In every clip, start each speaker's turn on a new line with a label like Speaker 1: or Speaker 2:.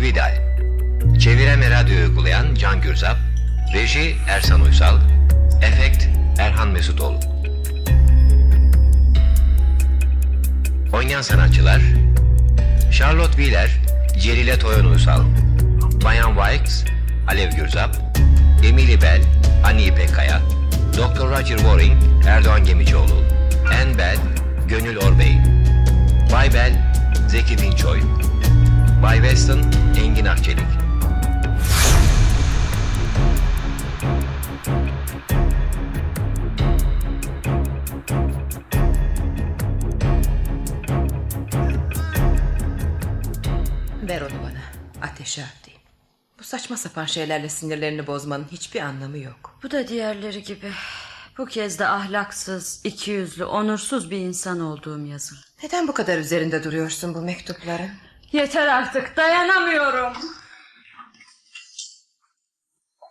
Speaker 1: Vidal. Çeviren ve radyo uygulayan Can Gürzap. Reji Ersan Uysal. Efekt Erhan Mesutoğlu. Oynayan sanatçılar Charlotte Wheeler, Celile Toyon Uysal, Bayan Wilkes, Alev Gürzap, Emily Bell, Ani İpek Kaya, Dr. Roger Waring, Erdoğan Gemiçoğlu, Ann Bell, Gönül Orbey, Bay Bell, Zeki Dinçoy, Bay Weston, Engin Akçelik.
Speaker 2: Ver onu bana. Ateşe atayım. Bu saçma sapan şeylerle sinirlerini bozmanın hiçbir anlamı yok.
Speaker 3: Bu da diğerleri gibi. Bu kez de ahlaksız, ikiyüzlü, onursuz bir insan olduğum yazılı.
Speaker 2: Neden bu kadar üzerinde duruyorsun bu mektupların?
Speaker 3: Yeter artık dayanamıyorum.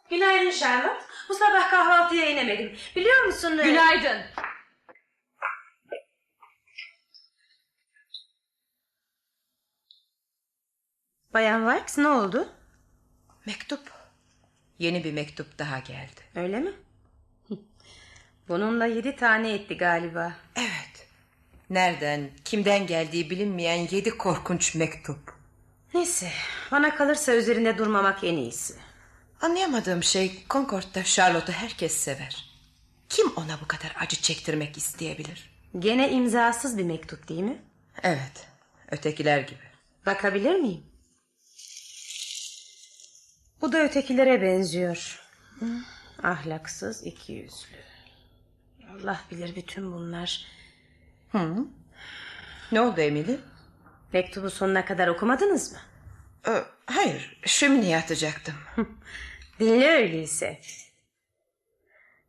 Speaker 4: Günaydın Charlotte. Bu sabah kahvaltıya inemedim. Biliyor musun? e,
Speaker 3: Günaydın.
Speaker 4: Bayan Wilkes ne oldu?
Speaker 2: Mektup. Yeni bir mektup daha geldi.
Speaker 4: Öyle mi? Bununla yedi tane etti galiba.
Speaker 2: Evet. Nereden, kimden geldiği bilinmeyen yedi korkunç mektup.
Speaker 4: Neyse bana kalırsa üzerinde durmamak en iyisi.
Speaker 2: Anlayamadığım şey Concord'da Charlotte'u herkes sever. Kim ona bu kadar acı çektirmek isteyebilir?
Speaker 4: Gene imzasız bir mektup değil mi?
Speaker 2: Evet, ötekiler gibi.
Speaker 4: Bakabilir miyim? Bu da ötekilere benziyor. Ahlaksız, iki yüzlü. Allah bilir bütün bunlar.
Speaker 2: Ne oldu Emily?
Speaker 4: Mektubu sonuna kadar okumadınız mı?
Speaker 2: Ee, hayır, şömineye atacaktım.
Speaker 4: Dinle öyleyse.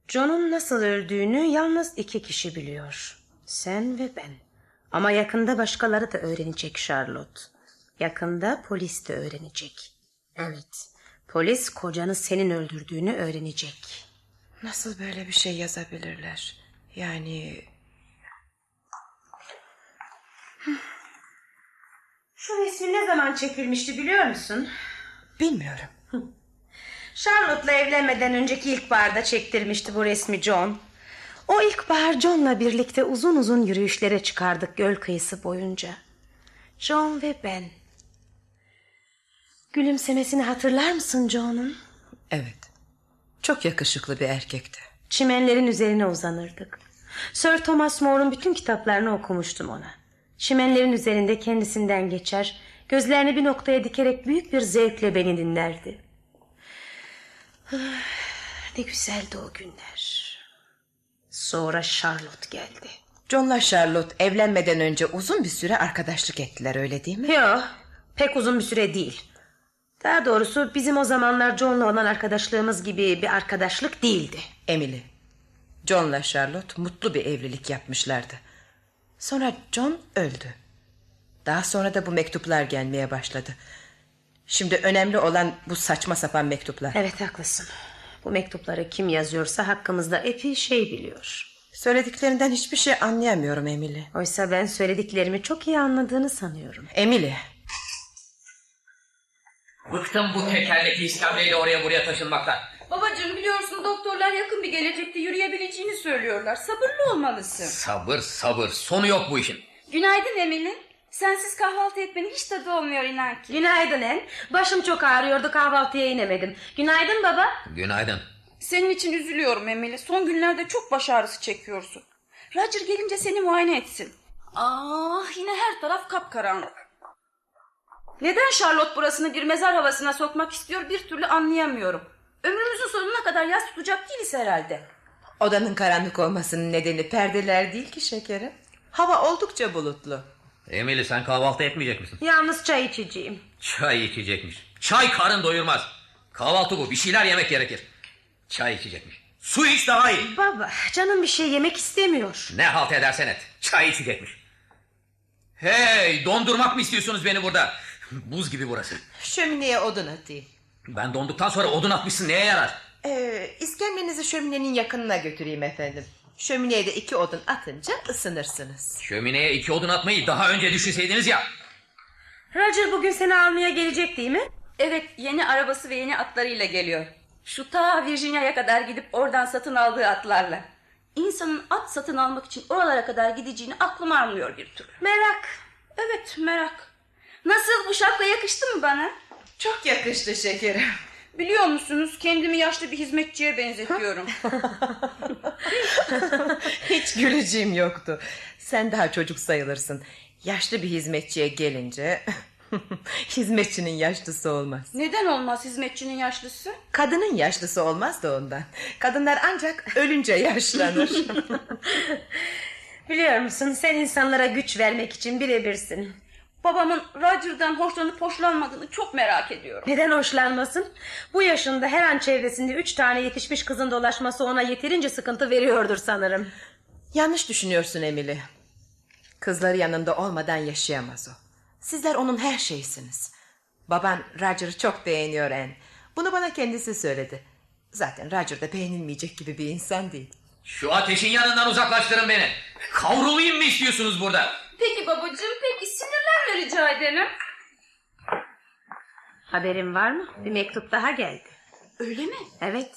Speaker 4: John'un nasıl öldüğünü yalnız iki kişi biliyor. Sen ve ben. Ama yakında başkaları da öğrenecek Charlotte. Yakında polis de öğrenecek. Evet. Polis kocanı senin öldürdüğünü öğrenecek.
Speaker 2: Nasıl böyle bir şey yazabilirler? Yani
Speaker 4: Şu resmi ne zaman çekilmişti biliyor musun?
Speaker 2: bilmiyorum.
Speaker 4: Charlotte'la evlenmeden önceki ilkbaharda çektirmişti bu resmi John. O ilkbahar John'la birlikte uzun uzun yürüyüşlere çıkardık göl kıyısı boyunca. John ve ben. Gülümsemesini hatırlar mısın John'un?
Speaker 2: Evet. Çok yakışıklı bir erkekti.
Speaker 4: Çimenlerin üzerine uzanırdık. Sir Thomas More'un bütün kitaplarını okumuştum ona. Çimenlerin üzerinde kendisinden geçer, gözlerini bir noktaya dikerek büyük bir zevkle beni dinlerdi. Ah, Ne güzeldi o günler. Sonra Charlotte geldi.
Speaker 2: John'la Charlotte evlenmeden önce uzun bir süre arkadaşlık ettiler öyle değil mi?
Speaker 4: Yok, pek uzun bir süre değil. Daha doğrusu bizim o zamanlar John'la olan arkadaşlığımız gibi bir arkadaşlık değildi.
Speaker 2: Emily. John'la Charlotte mutlu bir evlilik yapmışlardı. Sonra John öldü. Daha sonra da bu mektuplar gelmeye başladı. Şimdi önemli olan bu saçma sapan mektuplar.
Speaker 4: Evet haklısın. Bu mektupları kim yazıyorsa hakkımızda epey şey biliyor.
Speaker 2: Söylediklerinden hiçbir şey anlayamıyorum Emily.
Speaker 4: Oysa ben söylediklerimi çok iyi anladığını sanıyorum.
Speaker 2: Emily.
Speaker 5: Bıktım bu tekerlekli iskemleyle oraya buraya taşınmaktan.
Speaker 6: Babacığım biliyorsun doktorlar yakın bir gelecekte yürüyebileceğini söylüyorlar. Sabırlı olmalısın.
Speaker 5: Sabır sabır sonu yok bu işin.
Speaker 6: Günaydın Emily. Sensiz kahvaltı etmenin hiç tadı olmuyor inan ki.
Speaker 4: Günaydın en. Başım çok ağrıyordu kahvaltıya inemedim. Günaydın baba.
Speaker 5: Günaydın.
Speaker 6: Senin için üzülüyorum Emily. Son günlerde çok baş ağrısı çekiyorsun. Roger gelince seni muayene etsin. Ah yine her taraf kapkaranlık. Neden Charlotte burasını bir mezar havasına sokmak istiyor bir türlü anlayamıyorum. Ömrümüzün sonuna kadar yas tutacak değiliz herhalde.
Speaker 2: Odanın karanlık olmasının nedeni perdeler değil ki şekerim. Hava oldukça bulutlu.
Speaker 5: Emily sen kahvaltı etmeyecek misin?
Speaker 4: Yalnız çay içeceğim.
Speaker 5: Çay içecekmiş. Çay karın doyurmaz. Kahvaltı bu bir şeyler yemek gerekir. Çay içecekmiş. Su iç daha iyi.
Speaker 4: Baba canım bir şey yemek istemiyor.
Speaker 5: Ne halt edersen et. Çay içecekmiş. Hey dondurmak mı istiyorsunuz beni burada? Buz gibi burası.
Speaker 2: Şömineye odun atayım.
Speaker 5: Ben donduktan sonra odun atmışsın neye yarar?
Speaker 2: Ee, iskemlenizi şöminenin yakınına götüreyim efendim. Şömineye de iki odun atınca ısınırsınız.
Speaker 5: Şömineye iki odun atmayı daha önce düşünseydiniz ya.
Speaker 4: Roger bugün seni almaya gelecek değil mi?
Speaker 6: Evet yeni arabası ve yeni atlarıyla geliyor. Şu ta Virginia'ya kadar gidip oradan satın aldığı atlarla. İnsanın at satın almak için oralara kadar gideceğini aklım almıyor bir türlü.
Speaker 4: Merak.
Speaker 6: Evet merak. Nasıl bu şapka yakıştı mı bana?
Speaker 2: Çok yakıştı şekerim.
Speaker 6: Biliyor musunuz kendimi yaşlı bir hizmetçiye benzetiyorum.
Speaker 2: Hiç güleceğim yoktu. Sen daha çocuk sayılırsın. Yaşlı bir hizmetçiye gelince... Hizmetçinin yaşlısı olmaz.
Speaker 6: Neden olmaz hizmetçinin yaşlısı?
Speaker 2: Kadının yaşlısı olmaz da ondan. Kadınlar ancak ölünce yaşlanır.
Speaker 4: Biliyor musun sen insanlara güç vermek için birebirsin.
Speaker 6: Babamın Roger'dan hoşlanıp hoşlanmadığını çok merak ediyorum.
Speaker 4: Neden hoşlanmasın? Bu yaşında her an çevresinde üç tane yetişmiş kızın dolaşması ona yeterince sıkıntı veriyordur sanırım.
Speaker 2: Yanlış düşünüyorsun Emily. Kızları yanında olmadan yaşayamaz o. Sizler onun her şeysiniz. Baban Roger'ı çok beğeniyor en. Bunu bana kendisi söyledi. Zaten Roger da beğenilmeyecek gibi bir insan değil.
Speaker 5: Şu ateşin yanından uzaklaştırın beni. Kavrulayım mı istiyorsunuz burada?
Speaker 6: Peki babacığım peki sinirlenme rica ederim.
Speaker 4: Haberin var mı? Bir mektup daha geldi.
Speaker 6: Öyle mi?
Speaker 4: Evet.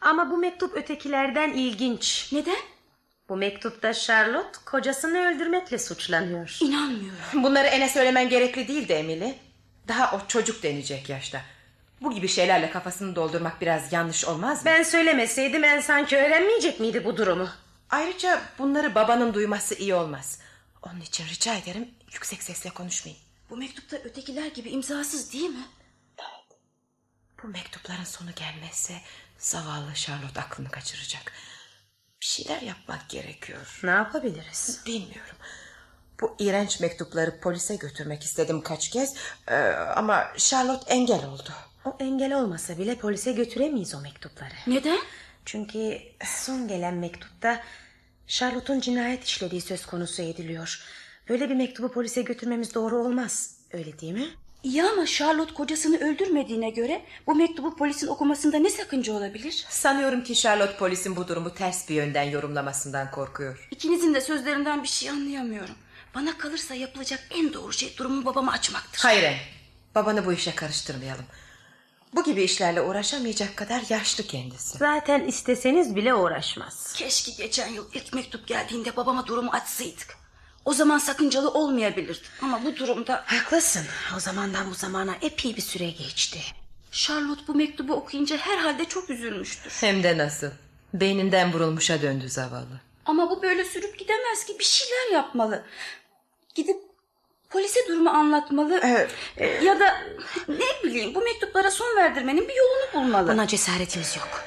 Speaker 4: Ama bu mektup ötekilerden ilginç.
Speaker 6: Neden?
Speaker 4: Bu mektupta Charlotte kocasını öldürmekle suçlanıyor.
Speaker 6: İnanmıyorum.
Speaker 2: Bunları Ene söylemen gerekli değil de Emily. Daha o çocuk denecek yaşta. Bu gibi şeylerle kafasını doldurmak biraz yanlış olmaz mı?
Speaker 4: Ben söylemeseydim ben sanki öğrenmeyecek miydi bu durumu?
Speaker 2: Ayrıca bunları babanın duyması iyi olmaz. Onun için rica ederim yüksek sesle konuşmayın.
Speaker 6: Bu mektupta ötekiler gibi imzasız değil mi?
Speaker 2: Bu mektupların sonu gelmezse zavallı Charlotte aklını kaçıracak. Bir şeyler yapmak gerekiyor.
Speaker 4: Ne yapabiliriz?
Speaker 2: Bilmiyorum. Bu iğrenç mektupları polise götürmek istedim kaç kez Ee, ama Charlotte engel oldu.
Speaker 4: O engel olmasa bile polise götüremeyiz o mektupları.
Speaker 6: Neden?
Speaker 4: Çünkü son gelen mektupta Charlotte'un cinayet işlediği söz konusu ediliyor. Böyle bir mektubu polise götürmemiz doğru olmaz. Öyle değil mi?
Speaker 6: İyi ama Charlotte kocasını öldürmediğine göre bu mektubu polisin okumasında ne sakınca olabilir?
Speaker 2: Sanıyorum ki Charlotte polisin bu durumu ters bir yönden yorumlamasından korkuyor.
Speaker 6: İkinizin de sözlerinden bir şey anlayamıyorum. Bana kalırsa yapılacak en doğru şey durumu babama açmaktır.
Speaker 2: Hayır, Em. babanı bu işe karıştırmayalım. Bu gibi işlerle uğraşamayacak kadar yaşlı kendisi.
Speaker 4: Zaten isteseniz bile uğraşmaz.
Speaker 6: Keşke geçen yıl ilk mektup geldiğinde babama durumu açsaydık. O zaman sakıncalı olmayabilirdi. Ama bu durumda
Speaker 4: Haklısın. O zamandan bu zamana epey bir süre geçti.
Speaker 6: Charlotte bu mektubu okuyunca herhalde çok üzülmüştür.
Speaker 2: Hem de nasıl? Beyninden vurulmuşa döndü zavallı.
Speaker 6: Ama bu böyle sürüp gidemez ki bir şeyler yapmalı. Gidip polise durumu anlatmalı. Ya da ne bileyim bu mektuplara son verdirmenin bir yolunu bulmalı.
Speaker 4: Buna cesaretimiz yok.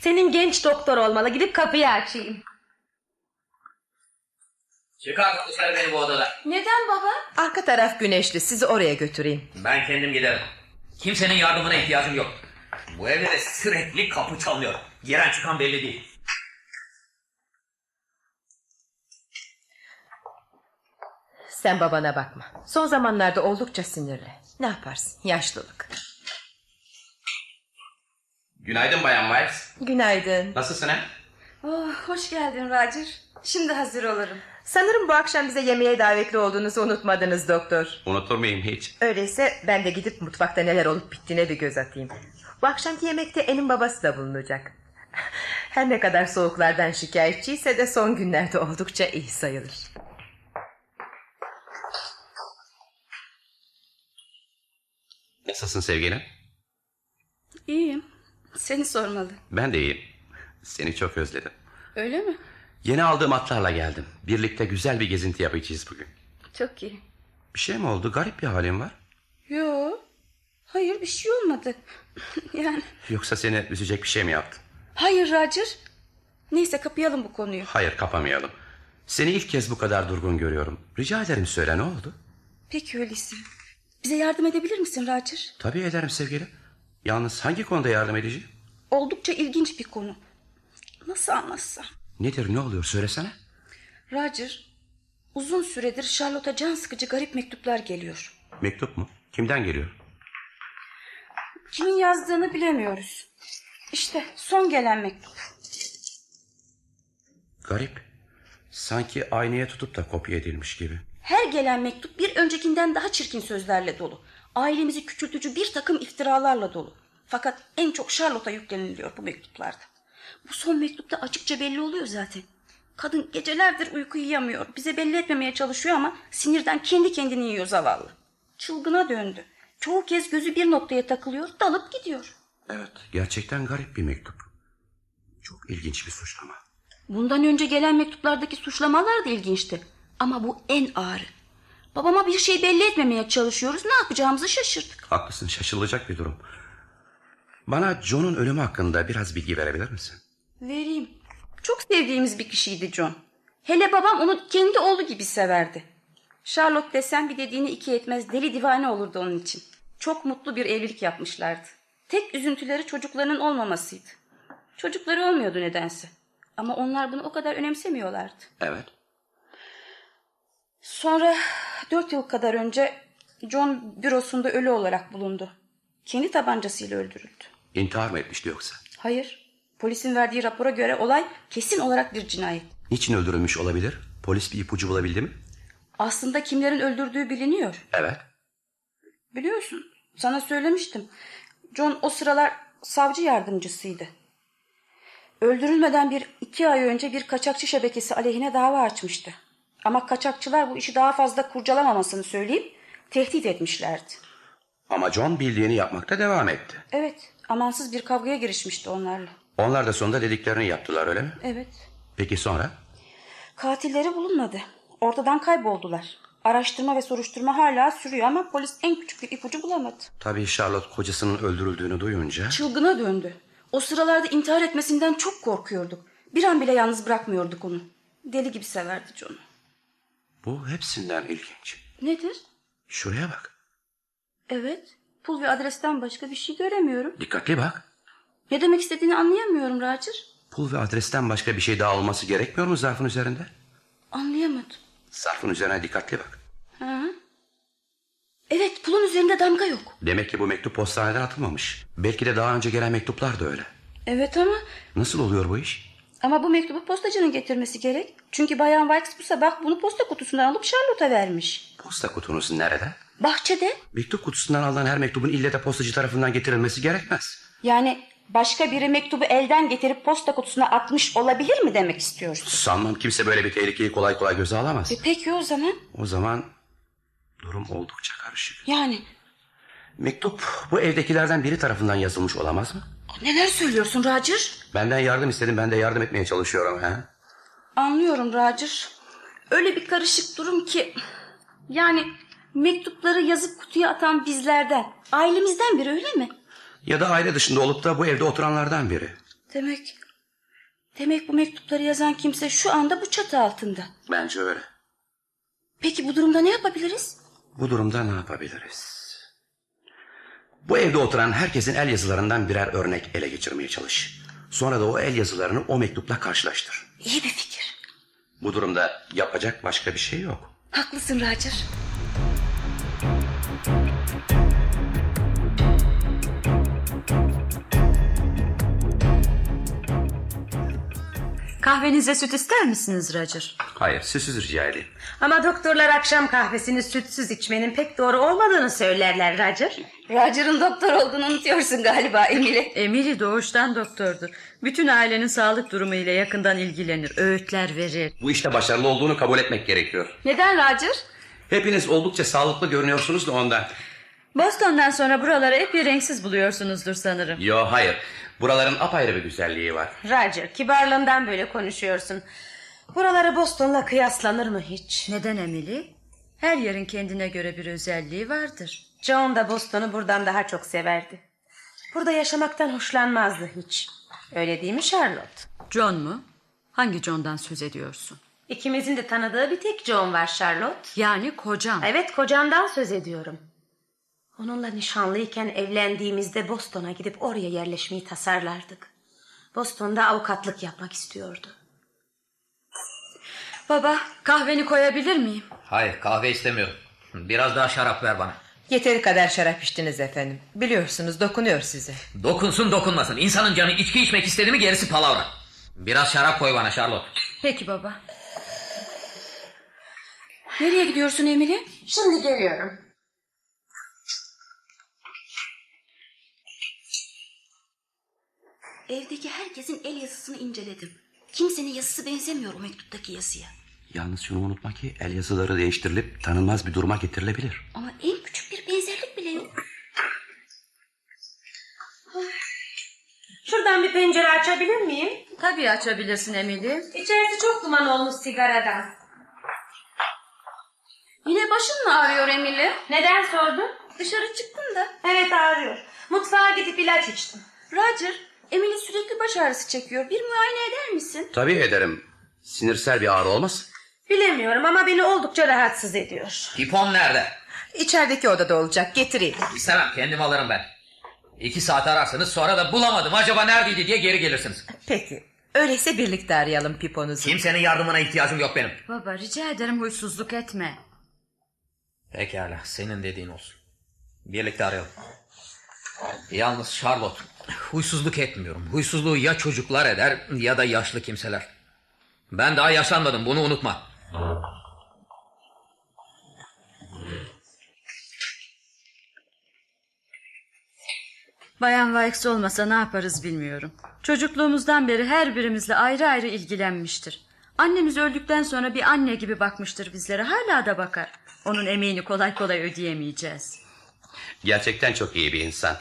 Speaker 4: Senin genç doktor olmalı. Gidip kapıyı açayım.
Speaker 5: Çıkar dışarı beni bu odadan.
Speaker 6: Neden baba?
Speaker 2: Arka taraf güneşli sizi oraya götüreyim.
Speaker 5: Ben kendim giderim. Kimsenin yardımına ihtiyacım yok. Bu evde de sürekli kapı çalıyor. Giren çıkan belli değil.
Speaker 2: Sen babana bakma. Son zamanlarda oldukça sinirli. Ne yaparsın? Yaşlılık.
Speaker 5: Günaydın Bayan Wives.
Speaker 2: Günaydın.
Speaker 5: Nasılsın he?
Speaker 6: Oh, hoş geldin Roger. Şimdi hazır olurum.
Speaker 2: Sanırım bu akşam bize yemeğe davetli olduğunuzu unutmadınız doktor.
Speaker 5: Unutur muyum hiç?
Speaker 2: Öyleyse ben de gidip mutfakta neler olup bittiğine bir göz atayım. Bu akşamki yemekte Elin babası da bulunacak. Her ne kadar soğuklardan şikayetçiyse de son günlerde oldukça iyi sayılır.
Speaker 7: Nasılsın sevgilim?
Speaker 6: İyiyim. Seni sormalı.
Speaker 7: Ben de iyiyim. Seni çok özledim.
Speaker 6: Öyle mi?
Speaker 7: Yeni aldığım atlarla geldim. Birlikte güzel bir gezinti yapacağız bugün.
Speaker 6: Çok iyi.
Speaker 7: Bir şey mi oldu? Garip bir halin var.
Speaker 6: Yo. Hayır bir şey olmadı. yani
Speaker 7: Yoksa seni üzecek bir şey mi yaptım?
Speaker 6: hayır Roger. Neyse kapayalım bu konuyu.
Speaker 7: Hayır kapamayalım. Seni ilk kez bu kadar durgun görüyorum. Rica ederim söyle ne oldu?
Speaker 6: Peki öyleyse. Bize yardım edebilir misin Roger?
Speaker 7: Tabii ederim sevgilim. Yalnız hangi konuda yardım edeceğim?
Speaker 6: Oldukça ilginç bir konu. Nasıl anlatsam?
Speaker 7: Nedir ne oluyor söylesene.
Speaker 6: Roger, uzun süredir Charlotte'a can sıkıcı garip mektuplar geliyor.
Speaker 7: Mektup mu? Kimden geliyor?
Speaker 6: Kimin yazdığını bilemiyoruz. İşte son gelen mektup.
Speaker 7: Garip. Sanki aynaya tutup da kopya edilmiş gibi.
Speaker 6: Her gelen mektup bir öncekinden daha çirkin sözlerle dolu. Ailemizi küçültücü bir takım iftiralarla dolu. Fakat en çok Charlotte'a yükleniliyor bu mektuplarda. Bu son mektupta açıkça belli oluyor zaten. Kadın gecelerdir uyku yiyemiyor. Bize belli etmemeye çalışıyor ama sinirden kendi kendini yiyor zavallı. Çılgına döndü. Çoğu kez gözü bir noktaya takılıyor, dalıp gidiyor.
Speaker 7: Evet. Gerçekten garip bir mektup. Çok ilginç bir suçlama.
Speaker 6: Bundan önce gelen mektuplardaki suçlamalar da ilginçti. Ama bu en ağırı. Babama bir şey belli etmemeye çalışıyoruz. Ne yapacağımızı şaşırdık.
Speaker 7: Haklısın şaşılacak bir durum. Bana John'un ölümü hakkında biraz bilgi verebilir misin?
Speaker 6: Vereyim. Çok sevdiğimiz bir kişiydi John. Hele babam onu kendi oğlu gibi severdi. Charlotte desem bir dediğini iki etmez deli divane olurdu onun için. Çok mutlu bir evlilik yapmışlardı. Tek üzüntüleri çocuklarının olmamasıydı. Çocukları olmuyordu nedense. Ama onlar bunu o kadar önemsemiyorlardı.
Speaker 7: Evet.
Speaker 6: Sonra dört yıl kadar önce John bürosunda ölü olarak bulundu. Kendi tabancasıyla öldürüldü.
Speaker 7: İntihar mı etmişti yoksa?
Speaker 6: Hayır. Polisin verdiği rapora göre olay kesin olarak bir cinayet.
Speaker 7: Niçin öldürülmüş olabilir? Polis bir ipucu bulabildi mi?
Speaker 6: Aslında kimlerin öldürdüğü biliniyor.
Speaker 7: Evet.
Speaker 6: Biliyorsun sana söylemiştim. John o sıralar savcı yardımcısıydı. Öldürülmeden bir iki ay önce bir kaçakçı şebekesi aleyhine dava açmıştı. Ama kaçakçılar bu işi daha fazla kurcalamamasını söyleyip tehdit etmişlerdi.
Speaker 7: Ama John bildiğini yapmakta devam etti.
Speaker 6: Evet amansız bir kavgaya girişmişti onlarla.
Speaker 7: Onlar da sonunda dediklerini yaptılar öyle mi?
Speaker 6: Evet.
Speaker 7: Peki sonra?
Speaker 6: Katilleri bulunmadı. Ortadan kayboldular. Araştırma ve soruşturma hala sürüyor ama polis en küçük bir ipucu bulamadı.
Speaker 7: Tabii Charlotte kocasının öldürüldüğünü duyunca...
Speaker 6: Çılgına döndü. O sıralarda intihar etmesinden çok korkuyorduk. Bir an bile yalnız bırakmıyorduk onu. Deli gibi severdi John'u.
Speaker 7: Bu hepsinden ilginç.
Speaker 6: Nedir?
Speaker 7: Şuraya bak.
Speaker 6: Evet. Pul ve adresten başka bir şey göremiyorum.
Speaker 7: Dikkatli bak.
Speaker 6: Ne demek istediğini anlayamıyorum Roger.
Speaker 7: Pul ve adresten başka bir şey daha olması gerekmiyor mu zarfın üzerinde?
Speaker 6: Anlayamadım.
Speaker 7: Zarfın üzerine dikkatli bak.
Speaker 6: Ha? Evet pulun üzerinde damga yok.
Speaker 7: Demek ki bu mektup postaneden atılmamış. Belki de daha önce gelen mektuplar da öyle.
Speaker 6: Evet ama
Speaker 7: Nasıl oluyor bu iş?
Speaker 6: ama bu mektubu postacının getirmesi gerek. Çünkü Bayan Wilkes bu sabah bunu posta kutusundan alıp Charlotte'a vermiş.
Speaker 7: Posta kutunuz nerede?
Speaker 6: Bahçede
Speaker 7: Mektup kutusundan alınan her mektubun ille de postacı tarafından getirilmesi gerekmez.
Speaker 6: yani başka biri mektubu elden getirip posta kutusuna atmış olabilir mi demek istiyorsun?
Speaker 7: Sanmam kimse böyle bir tehlikeyi kolay kolay göze alamaz.
Speaker 6: E peki o zaman
Speaker 7: O zaman durum oldukça karışık.
Speaker 6: yani
Speaker 7: Mektup bu evdekilerden biri tarafından yazılmış olamaz mı?
Speaker 6: neler söylüyorsun Roger?
Speaker 7: Benden yardım istedim ben de yardım etmeye çalışıyorum. He?
Speaker 6: Anlıyorum Roger. Öyle bir karışık durum ki yani mektupları yazıp kutuya atan bizlerden, ailemizden biri öyle mi?
Speaker 7: Ya da aile dışında olup da bu evde oturanlardan biri.
Speaker 6: Demek demek bu mektupları yazan kimse şu anda bu çatı altında.
Speaker 7: Bence öyle.
Speaker 6: Peki bu durumda ne yapabiliriz?
Speaker 7: Bu durumda ne yapabiliriz? Bu evde oturan herkesin el yazılarından birer örnek ele geçirmeye çalış. Sonra da o el yazılarını o mektupla karşılaştır.
Speaker 6: İyi bir fikir.
Speaker 7: Bu durumda yapacak başka bir şey yok.
Speaker 6: Haklısın Roger.
Speaker 3: Kahvenize süt ister misiniz Roger?
Speaker 7: Hayır, sessiz rica edeyim.
Speaker 4: Ama doktorlar akşam kahvesini sütsüz içmenin pek doğru olmadığını söylerler Roger.
Speaker 6: Roger'ın doktor olduğunu unutuyorsun galiba Emile.
Speaker 3: Emily doğuştan doktordur. Bütün ailenin sağlık durumu ile yakından ilgilenir, öğütler verir.
Speaker 7: Bu işte başarılı olduğunu kabul etmek gerekiyor.
Speaker 6: Neden Roger?
Speaker 7: Hepiniz oldukça sağlıklı görünüyorsunuz da ondan.
Speaker 3: Boston'dan sonra buraları epey renksiz buluyorsunuzdur sanırım.
Speaker 7: Yo hayır, buraların apayrı bir güzelliği var.
Speaker 4: Roger kibarlığından böyle konuşuyorsun. Buraları Boston'la kıyaslanır mı hiç?
Speaker 3: Neden Emily? Her yerin kendine göre bir özelliği vardır.
Speaker 4: John da Boston'u buradan daha çok severdi. Burada yaşamaktan hoşlanmazdı hiç. Öyle değil mi Charlotte?
Speaker 3: John mu? Hangi John'dan söz ediyorsun?
Speaker 4: İkimizin de tanıdığı bir tek John var Charlotte.
Speaker 3: Yani kocam.
Speaker 4: Evet kocamdan söz ediyorum. Onunla nişanlıyken evlendiğimizde Boston'a gidip oraya yerleşmeyi tasarlardık. Boston'da avukatlık yapmak istiyordu.
Speaker 3: Baba kahveni koyabilir miyim?
Speaker 5: Hayır kahve istemiyorum. Biraz daha şarap ver bana.
Speaker 2: Yeteri kadar şarap içtiniz efendim. Biliyorsunuz dokunuyor size.
Speaker 5: Dokunsun dokunmasın. İnsanın canı içki içmek istedi mi gerisi palavra. Biraz şarap koy bana Charlotte.
Speaker 3: Peki baba.
Speaker 6: Nereye gidiyorsun Emile?
Speaker 4: Şimdi geliyorum.
Speaker 8: Evdeki herkesin el yazısını inceledim. Kimsenin yazısı benzemiyor o mektuptaki yazıya.
Speaker 7: Yalnız şunu unutma ki el yazıları değiştirilip tanınmaz bir duruma getirilebilir.
Speaker 8: Ama en küçük bir benzerlik bile yok.
Speaker 4: Şuradan bir pencere açabilir miyim?
Speaker 3: Tabii açabilirsin Emily.
Speaker 4: İçerisi çok duman olmuş sigaradan.
Speaker 6: Yine başın mı ağrıyor Emili?
Speaker 4: Neden sordun?
Speaker 6: Dışarı çıktın da.
Speaker 4: Evet ağrıyor. Mutfağa gidip ilaç içtim.
Speaker 6: Roger, Emili sürekli baş ağrısı çekiyor. Bir muayene eder misin?
Speaker 7: Tabii ederim. Sinirsel bir ağrı olmaz.
Speaker 4: Bilemiyorum ama beni oldukça rahatsız ediyor.
Speaker 5: Tipon nerede?
Speaker 2: İçerideki odada olacak getireyim.
Speaker 5: İstemem kendim alırım ben. İki saat ararsınız sonra da bulamadım acaba neredeydi diye geri gelirsiniz.
Speaker 2: Peki. Öyleyse birlikte arayalım piponuzu.
Speaker 5: Kimsenin yardımına ihtiyacım yok benim.
Speaker 3: Baba rica ederim huysuzluk etme.
Speaker 5: Pekala senin dediğin olsun. Birlikte arayalım. Yalnız Charlotte huysuzluk etmiyorum. Huysuzluğu ya çocuklar eder ya da yaşlı kimseler. Ben daha yaşlanmadım bunu unutma.
Speaker 3: Bayan Vikes olmasa ne yaparız bilmiyorum. Çocukluğumuzdan beri her birimizle ayrı ayrı ilgilenmiştir. Annemiz öldükten sonra bir anne gibi bakmıştır bizlere. Hala da bakar. Onun emeğini kolay kolay ödeyemeyeceğiz.
Speaker 7: Gerçekten çok iyi bir insan.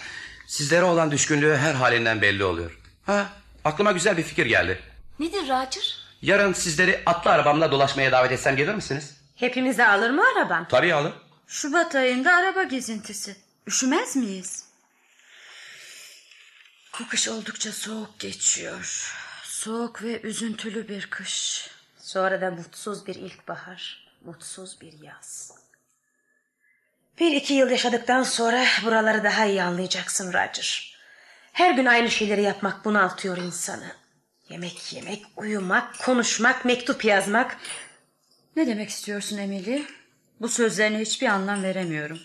Speaker 7: Sizlere olan düşkünlüğü her halinden belli oluyor. Ha, aklıma güzel bir fikir geldi.
Speaker 8: Nedir Roger?
Speaker 7: Yarın sizleri atlı arabamla dolaşmaya davet etsem gelir misiniz?
Speaker 4: Hepimizi alır mı araban?
Speaker 7: Tabii alın.
Speaker 3: Şubat ayında araba gezintisi. Üşümez miyiz? Bu kış oldukça soğuk geçiyor. Soğuk ve üzüntülü bir kış.
Speaker 4: Sonra da mutsuz bir ilkbahar, mutsuz bir yaz. Bir iki yıl yaşadıktan sonra buraları daha iyi anlayacaksın Roger. Her gün aynı şeyleri yapmak bunaltıyor insanı. Yemek yemek, uyumak, konuşmak, mektup yazmak.
Speaker 3: Ne demek istiyorsun Emily? Bu sözlerine hiçbir anlam veremiyorum.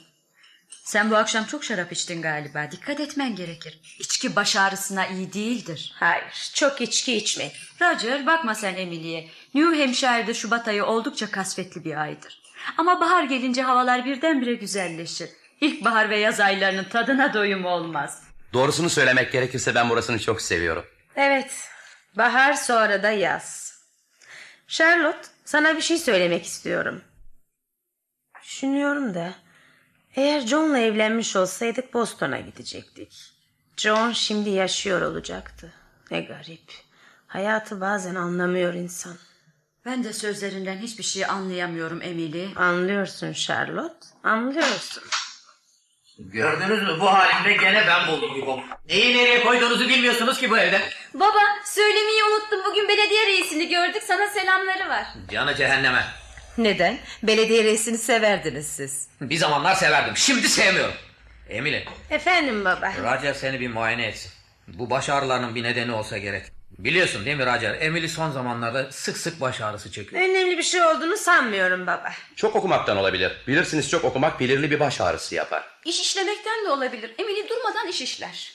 Speaker 3: Sen bu akşam çok şarap içtin galiba. Dikkat etmen gerekir. İçki baş ağrısına iyi değildir.
Speaker 4: Hayır, çok içki içmek.
Speaker 3: Roger bakma sen Emily'ye. New Hampshire'da Şubat ayı oldukça kasvetli bir aydır. Ama bahar gelince havalar birdenbire güzelleşir. İlkbahar ve yaz aylarının tadına doyum olmaz.
Speaker 7: Doğrusunu söylemek gerekirse ben burasını çok seviyorum.
Speaker 4: Evet, bahar sonra da yaz. Charlotte, sana bir şey söylemek istiyorum. Düşünüyorum da, eğer John'la evlenmiş olsaydık Boston'a gidecektik. John şimdi yaşıyor olacaktı. Ne garip. Hayatı bazen anlamıyor insan.
Speaker 3: Ben de sözlerinden hiçbir şey anlayamıyorum Emily.
Speaker 4: Anlıyorsun Charlotte, anlıyorsun.
Speaker 5: Gördünüz mü bu halimde gene ben buldum bu Neyi nereye koyduğunuzu bilmiyorsunuz ki bu evde.
Speaker 6: Baba, söylemeyi unuttum. Bugün belediye reisini gördük. Sana selamları var.
Speaker 5: Canı cehenneme.
Speaker 2: Neden? Belediye reisini severdiniz siz.
Speaker 5: Bir zamanlar severdim şimdi sevmiyorum. Emily
Speaker 4: Efendim baba.
Speaker 5: Roger seni bir muayene etsin. Bu baş ağrılarının bir nedeni olsa gerek. Biliyorsun değil mi Roger? Emily son zamanlarda sık sık baş ağrısı çekiyor.
Speaker 4: Önemli bir şey olduğunu sanmıyorum baba.
Speaker 7: Çok okumaktan olabilir. Bilirsiniz çok okumak belirli bir baş ağrısı yapar.
Speaker 6: İş işlemekten de olabilir. Emili durmadan iş işler.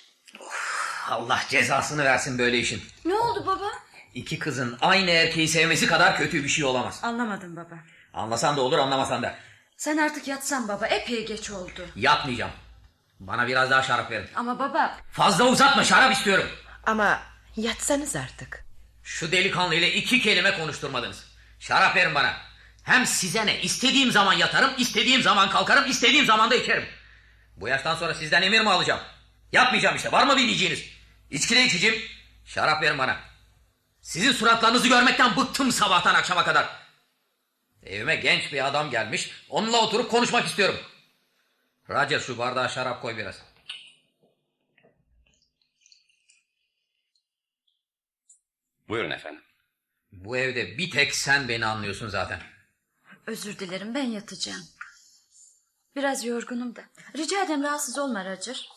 Speaker 5: Allah cezasını versin böyle işin.
Speaker 6: Ne oldu baba?
Speaker 5: İki kızın aynı erkeği sevmesi kadar kötü bir şey olamaz.
Speaker 3: Anlamadım baba.
Speaker 5: Anlasan da olur anlamasan da.
Speaker 3: Sen artık yatsan baba epey geç oldu.
Speaker 5: Yapmayacağım. Bana biraz daha şarap verin.
Speaker 3: Ama baba
Speaker 5: Fazla uzatma şarap istiyorum.
Speaker 2: Ama yatsanız artık.
Speaker 5: Şu delikanlı ile iki kelime konuşturmadınız. Şarap verin bana. Hem size ne? İstediğim zaman yatarım, istediğim zaman kalkarım, istediğim zaman da içerim. Bu yaştan sonra sizden emir mi alacağım? Yapmayacağım işte. Var mı bir diyeceğiniz? İçki de içeceğim. Şarap verin bana. Sizin suratlarınızı görmekten bıktım sabahtan akşama kadar. Evime genç bir adam gelmiş. Onunla oturup konuşmak istiyorum. Roger şu bardağa şarap koy biraz.
Speaker 7: Buyurun efendim.
Speaker 5: Bu evde bir tek sen beni anlıyorsun zaten.
Speaker 3: özür dilerim ben yatacağım. Biraz yorgunum da. Rica ederim rahatsız olma Roger.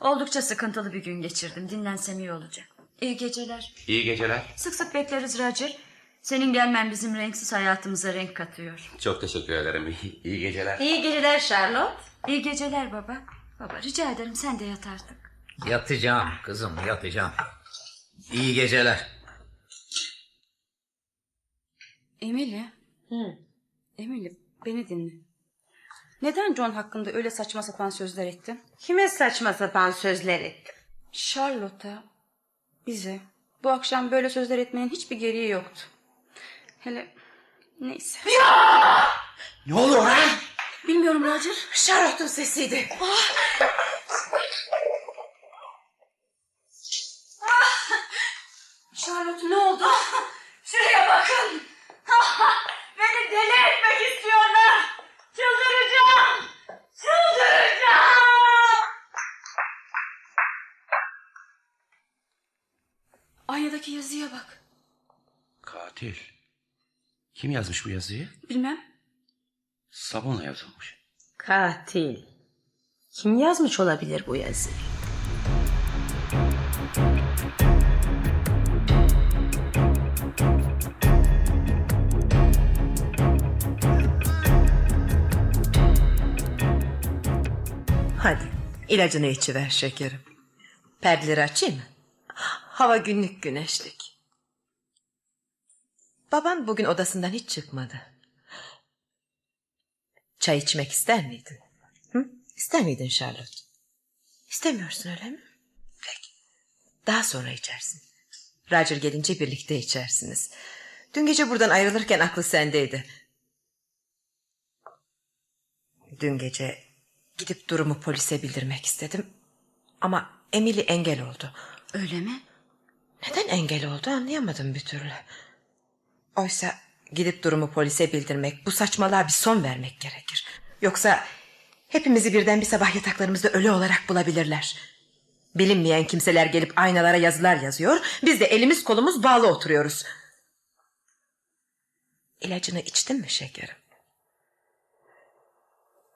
Speaker 3: Oldukça sıkıntılı bir gün geçirdim. Dinlensem iyi olacak. İyi geceler.
Speaker 7: İyi geceler.
Speaker 3: Sık sık bekleriz Roger. Senin gelmen bizim renksiz hayatımıza renk katıyor.
Speaker 7: Çok teşekkür ederim. İyi geceler.
Speaker 4: İyi geceler Charlotte.
Speaker 3: İyi geceler baba. Baba rica ederim sen de yat artık.
Speaker 5: Yatacağım kızım yatacağım. İyi geceler.
Speaker 6: Emili. Emili, beni dinle. Neden John hakkında öyle saçma sapan sözler ettin?
Speaker 4: Kime saçma sapan sözler ettim?
Speaker 6: Charlotte'a Bize bu akşam böyle sözler etmenin hiçbir gereği yoktu. Hele neyse.
Speaker 7: Ne oluyor lan?
Speaker 6: Bilmiyorum Ah! Roger.
Speaker 2: Charlotte'un sesiydi.
Speaker 6: Charlotte ne oldu? Şuraya bakın. Beni deli etmek istiyorlar. Çıldıracağım. Çıldıracağım. Aynadaki yazıya bak.
Speaker 7: Katil. Kim yazmış bu yazıyı?
Speaker 6: Bilmem.
Speaker 7: Sabunla yazılmış.
Speaker 4: Katil. Kim yazmış olabilir bu yazıyı?
Speaker 2: Hadi ilacını içiver şekerim. Perdeleri açayım mı? Hava günlük güneşlik. Baban bugün odasından hiç çıkmadı. Çay içmek ister miydin? Hı? İster miydin Charlotte? İstemiyorsun öyle mi? Peki. Daha sonra içersin. Roger gelince birlikte içersiniz. Dün gece buradan ayrılırken aklı sendeydi. Dün gece gidip durumu polise bildirmek istedim. Ama Emily engel oldu.
Speaker 3: Öyle mi?
Speaker 2: Neden engel oldu anlayamadım bir türlü. Oysa gidip durumu polise bildirmek, bu saçmalığa bir son vermek gerekir. Yoksa hepimizi birden bir sabah yataklarımızda ölü olarak bulabilirler. Bilinmeyen kimseler gelip aynalara yazılar yazıyor. Biz de elimiz kolumuz bağlı oturuyoruz. İlacını içtin mi şekerim?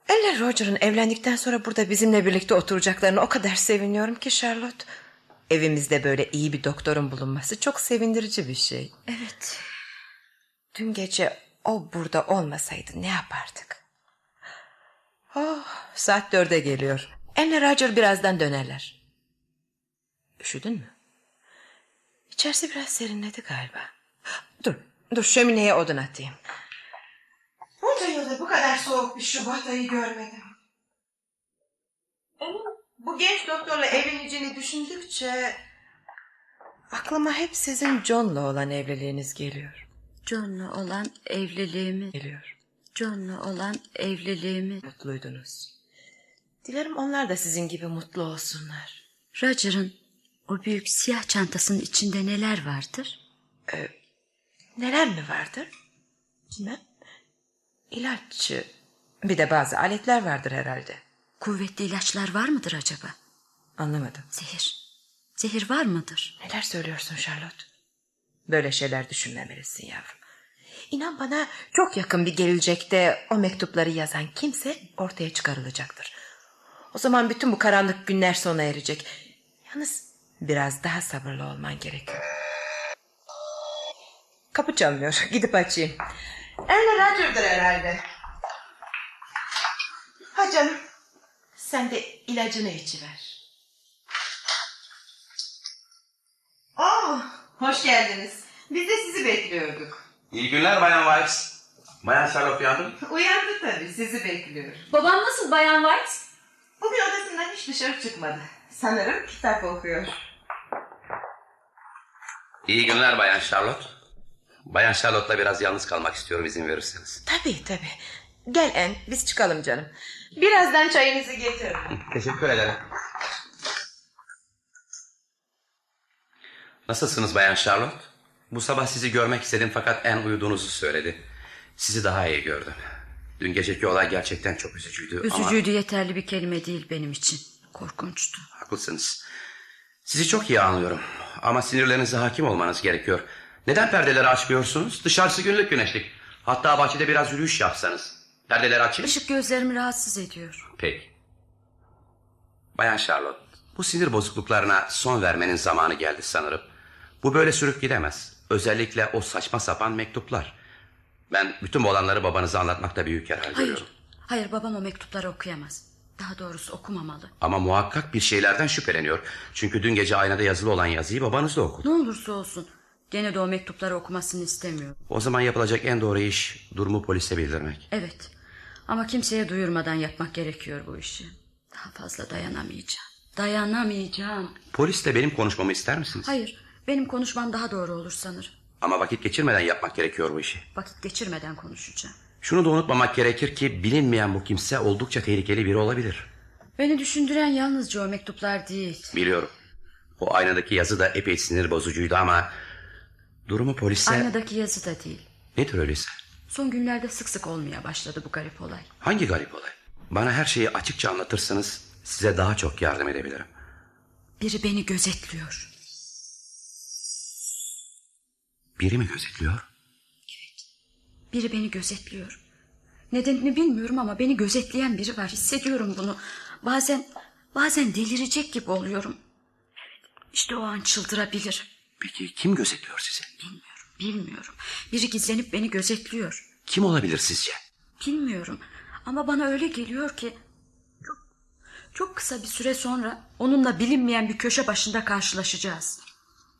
Speaker 2: Elle Roger'ın evlendikten sonra burada bizimle birlikte oturacaklarına o kadar seviniyorum ki Charlotte. Evimizde böyle iyi bir doktorun bulunması çok sevindirici bir şey. Evet. Dün gece o burada olmasaydı ne yapardık? Oh, saat dörde geliyor. Elle Roger birazdan dönerler. Üşüdün mü? İçerisi biraz serinledi galiba. Dur, dur şömineye odun atayım. Bunca yılda bu kadar soğuk bir Şubat ayı görmedim. Onun bu genç doktorla evleneceğini düşündükçe... Aklıma hep sizin John'la olan evliliğiniz geliyor.
Speaker 3: John'la olan evliliğimi,
Speaker 2: Geliyor.
Speaker 3: John'la olan evliliğimi.
Speaker 2: Mutluydunuz. Dilerim onlar da sizin gibi mutlu olsunlar.
Speaker 3: Roger'ın o büyük siyah çantasının içinde neler vardır?
Speaker 2: Neler mi vardır? Bilmem. İlaççı. Bir de bazı aletler vardır herhalde.
Speaker 3: Kuvvetli ilaçlar var mıdır acaba?
Speaker 2: Anlamadım.
Speaker 3: Zehir. Zehir var mıdır?
Speaker 2: Neler söylüyorsun Charlotte? Böyle şeyler düşünmemelisin yavrum. İnan bana çok yakın bir gelecekte o mektupları yazan kimse ortaya çıkarılacaktır. O zaman bütün bu karanlık günler sona erecek. Yalnız biraz daha sabırlı olman gerekiyor. Kapı çalmıyor. Gidip açayım. Erle Roger'dır herhalde. Ha canım. Sen de ilacını içiver. Oh, hoş geldiniz. Biz de sizi bekliyorduk.
Speaker 7: İyi günler Bayan Weiss. Bayan Charlotte uyandı.
Speaker 2: Uyandı tabii, sizi bekliyor.
Speaker 6: Baban nasıl Bayan White?
Speaker 2: Bugün odasından hiç dışarı çıkmadı. Sanırım kitap okuyor.
Speaker 7: İyi günler Bayan Charlotte. Bayan Charlotte'la biraz yalnız kalmak istiyorum izin verirseniz.
Speaker 2: Tabii tabii. Gel En, biz çıkalım canım. Birazdan çayınızı getiririm.
Speaker 7: Teşekkür ederim. Nasılsınız Bayan Charlotte? Bu sabah sizi görmek istedim fakat en uyuduğunuzu söyledi. Sizi daha iyi gördüm. Dün geceki olay gerçekten çok üzücüydü ama...
Speaker 3: Üzücüydü yeterli bir kelime değil benim için. Korkunçtu.
Speaker 7: Haklısınız. Sizi çok iyi anlıyorum. Ama sinirlerinize hakim olmanız gerekiyor. Neden perdeleri açmıyorsunuz? Dışarısı günlük güneşlik. Hatta bahçede biraz yürüyüş yapsanız. Perdeleri açın.
Speaker 3: Işık gözlerimi rahatsız ediyor.
Speaker 7: Peki. Bayan Charlotte, bu sinir bozukluklarına son vermenin zamanı geldi sanırım. Bu böyle sürüp gidemez. Özellikle o saçma sapan mektuplar. Ben bütün bu olanları babanıza anlatmakta büyük yarar
Speaker 3: Hayır.
Speaker 7: görüyorum.
Speaker 3: Hayır babam o mektupları okuyamaz. Daha doğrusu okumamalı.
Speaker 7: Ama muhakkak bir şeylerden şüpheleniyor. Çünkü dün gece aynada yazılı olan yazıyı babanız da okudu.
Speaker 3: Ne olursa olsun. Gene de o mektupları okumasını istemiyorum.
Speaker 7: O zaman yapılacak en doğru iş durumu polise bildirmek.
Speaker 3: Evet. Ama kimseye duyurmadan yapmak gerekiyor bu işi. Daha fazla dayanamayacağım. Dayanamayacağım.
Speaker 7: Polisle benim konuşmamı ister misiniz?
Speaker 3: Hayır, benim konuşmam daha doğru olur sanırım.
Speaker 7: Ama vakit geçirmeden yapmak gerekiyor bu işi.
Speaker 3: Vakit geçirmeden konuşacağım.
Speaker 7: Şunu da unutmamak gerekir ki bilinmeyen bu kimse oldukça tehlikeli biri olabilir.
Speaker 3: Beni düşündüren yalnızca o mektuplar değil.
Speaker 7: Biliyorum. O aynadaki yazı da epey sinir bozucuydu ama... Durumu polise...
Speaker 3: Aynadaki yazı da değil.
Speaker 7: Nedir öyleyse?
Speaker 3: Son günlerde sık sık olmaya başladı bu garip olay.
Speaker 7: Hangi garip olay? Bana her şeyi açıkça anlatırsanız size daha çok yardım edebilirim.
Speaker 3: Biri beni gözetliyor.
Speaker 7: Biri mi gözetliyor?
Speaker 3: Biri beni gözetliyor. Nedenini bilmiyorum ama beni gözetleyen biri var. Hissediyorum bunu. Bazen bazen delirecek gibi oluyorum. İşte o an çıldırabilirim.
Speaker 7: Peki kim gözetliyor sizi?
Speaker 3: Bilmiyorum, bilmiyorum. Biri gizlenip beni gözetliyor.
Speaker 7: Kim olabilir sizce?
Speaker 3: Bilmiyorum. Ama bana öyle geliyor ki çok- çok kısa bir süre sonra onunla bilinmeyen bir köşe başında karşılaşacağız.